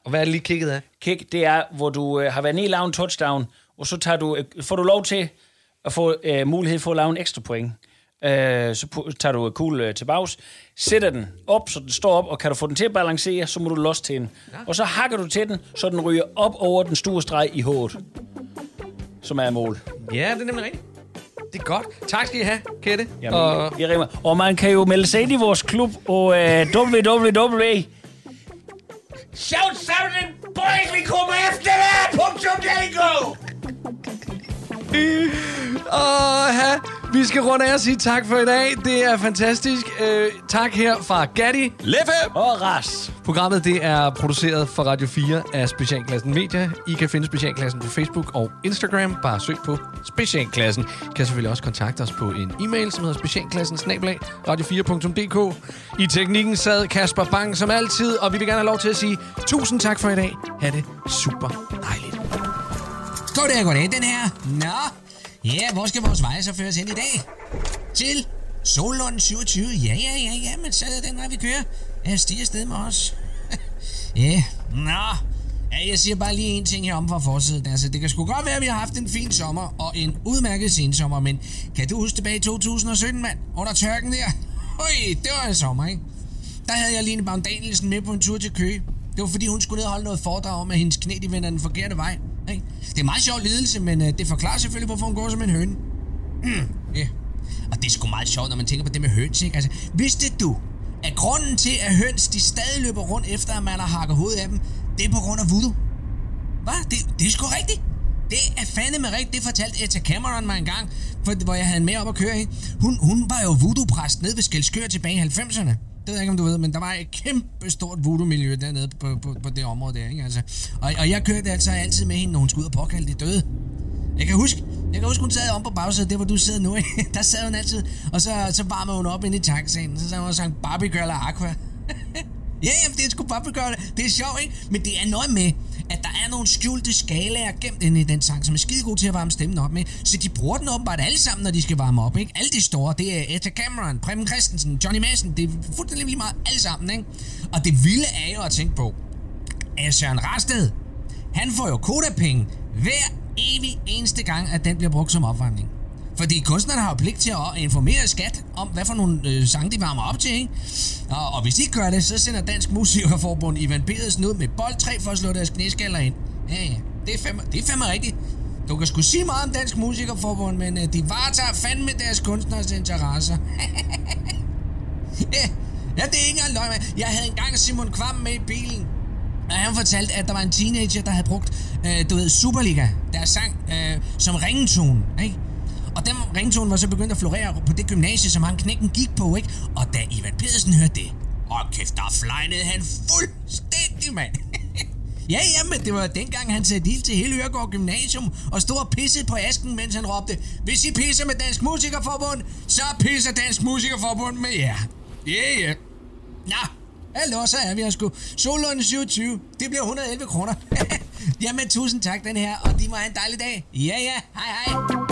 Og hvad er det lige kicket af? Kick, det er, hvor du øh, har været nede og lavet en touchdown, og så tager du, øh, får du lov til at få øh, mulighed for at lave en ekstra point. Øh, så pu- tager du kuglen øh, til bags, sætter den op, så den står op, og kan du få den til at balancere, så må du losse til den. Ja. Og så hakker du til den, så den ryger op over den store streg i hovedet, som er mål. Ja, det er nemlig rigtigt. Det er godt. Tak skal I have, Kette. Jamen, og, og... Jeg rimer. og man kan jo melde sig ind i vores klub og øh, www. Shout something boldly come efter det! Punktum, there you go! og ha, vi skal runde af og sige tak for i dag. Det er fantastisk. Øh, tak her fra Gatti. Leffe og Ras. Programmet det er produceret for Radio 4 af Specialklassen Media. I kan finde Specialklassen på Facebook og Instagram. Bare søg på Specialklassen. I kan selvfølgelig også kontakte os på en e-mail, som hedder specialklassen radio4.dk. I teknikken sad Kasper Bang som altid, og vi vil gerne have lov til at sige tusind tak for i dag. Ha' det super Goddag, goddag, den her. Nå, ja, hvor skal vores veje så føres hen i dag? Til Solund 27. Ja, ja, ja, ja, men så er det den vej, vi kører. Jeg stiger afsted med os. ja, nå. Ja, jeg siger bare lige en ting herom fra forsiden. Altså, det kan sgu godt være, at vi har haft en fin sommer og en udmærket sensommer, men kan du huske tilbage i 2017, mand? Under tørken der? Oj, det var en sommer, ikke? Der havde jeg Line Baum Danielsen med på en tur til Køge. Det var fordi, hun skulle ned og holde noget foredrag om, at hendes knæ de vender den forkerte vej. Ikke? Det er en meget sjov lidelse, men øh, det forklarer selvfølgelig, hvorfor hun går som en høne. Mm, yeah. Og det er sgu meget sjovt, når man tænker på det med høns, ikke? Altså, vidste du, at grunden til, at høns de stadig løber rundt efter, at man har hakket hovedet af dem, det er på grund af voodoo? Hvad? Det, det er sgu rigtigt. Det er fandeme rigtigt. Det fortalte Etta Cameron mig engang, for, hvor jeg havde hende med op at køre, ikke? Hun, hun var jo voodoo-præst nede ved Skelskør tilbage i 90'erne. Det ved jeg ikke, om du ved, men der var et kæmpe stort voodoo-miljø dernede på, på, på det område der, ikke? Altså, og, og jeg kørte altså altid med hende, når hun skulle ud og påkalde de døde. Jeg kan huske, jeg kan huske, hun sad om på bagsædet, der hvor du sidder nu, ikke? Der sad hun altid, og så, så varmede hun op inde i taxaen, så sad hun og sang Barbie Girl og Aqua. Ja, jamen, det er sgu bubblegum. Det er sjovt, ikke? Men det er noget med, at der er nogle skjulte skalaer gemt inde i den sang, som er skide god til at varme stemmen op med. Så de bruger den åbenbart alle sammen, når de skal varme op, ikke? Alle de store, det er Etta Cameron, Preben Christensen, Johnny Madsen, det er fuldstændig lige meget alle sammen, ikke? Og det vilde er jo at tænke på, at Søren Rasted, han får jo kodapenge hver evig eneste gang, at den bliver brugt som opvarmning. Fordi kunstnerne har jo pligt til at informere skat om, hvad for nogle øh, sange de varmer op til, ikke? Og, og hvis de ikke gør det, så sender Dansk Musikerforbund Ivan Pedersen ud med bold 3 for at slå deres knæskaller ind. Ja, ja, det er fandme, det er fandme rigtigt. Du kan sgu sige meget om Dansk Musikerforbund, men øh, de varetager fandme deres kunstners interesser. ja, ja, det er ikke engang løgn, mand. Jeg havde engang Simon Kvam med i bilen. Og han fortalte, at der var en teenager, der havde brugt, øh, du ved, Superliga, deres sang, øh, som ringetone, ikke? Og den ringtone var så begyndt at florere på det gymnasie, som han knækken gik på, ikke? Og da Ivan Pedersen hørte det, og kæft, der flejnede han fuldstændig, mand. ja, jamen, det var dengang, han satte ild til hele Øregård Gymnasium og stod og pissede på asken, mens han råbte, hvis I pisser med Dansk Musikerforbund, så pisser Dansk Musikerforbund med jer. Yeah, yeah. Nå, hallo, så er vi her sgu. Solund 27, det bliver 111 kroner. jamen, tusind tak den her, og de må have en dejlig dag. Ja, ja, hej hej.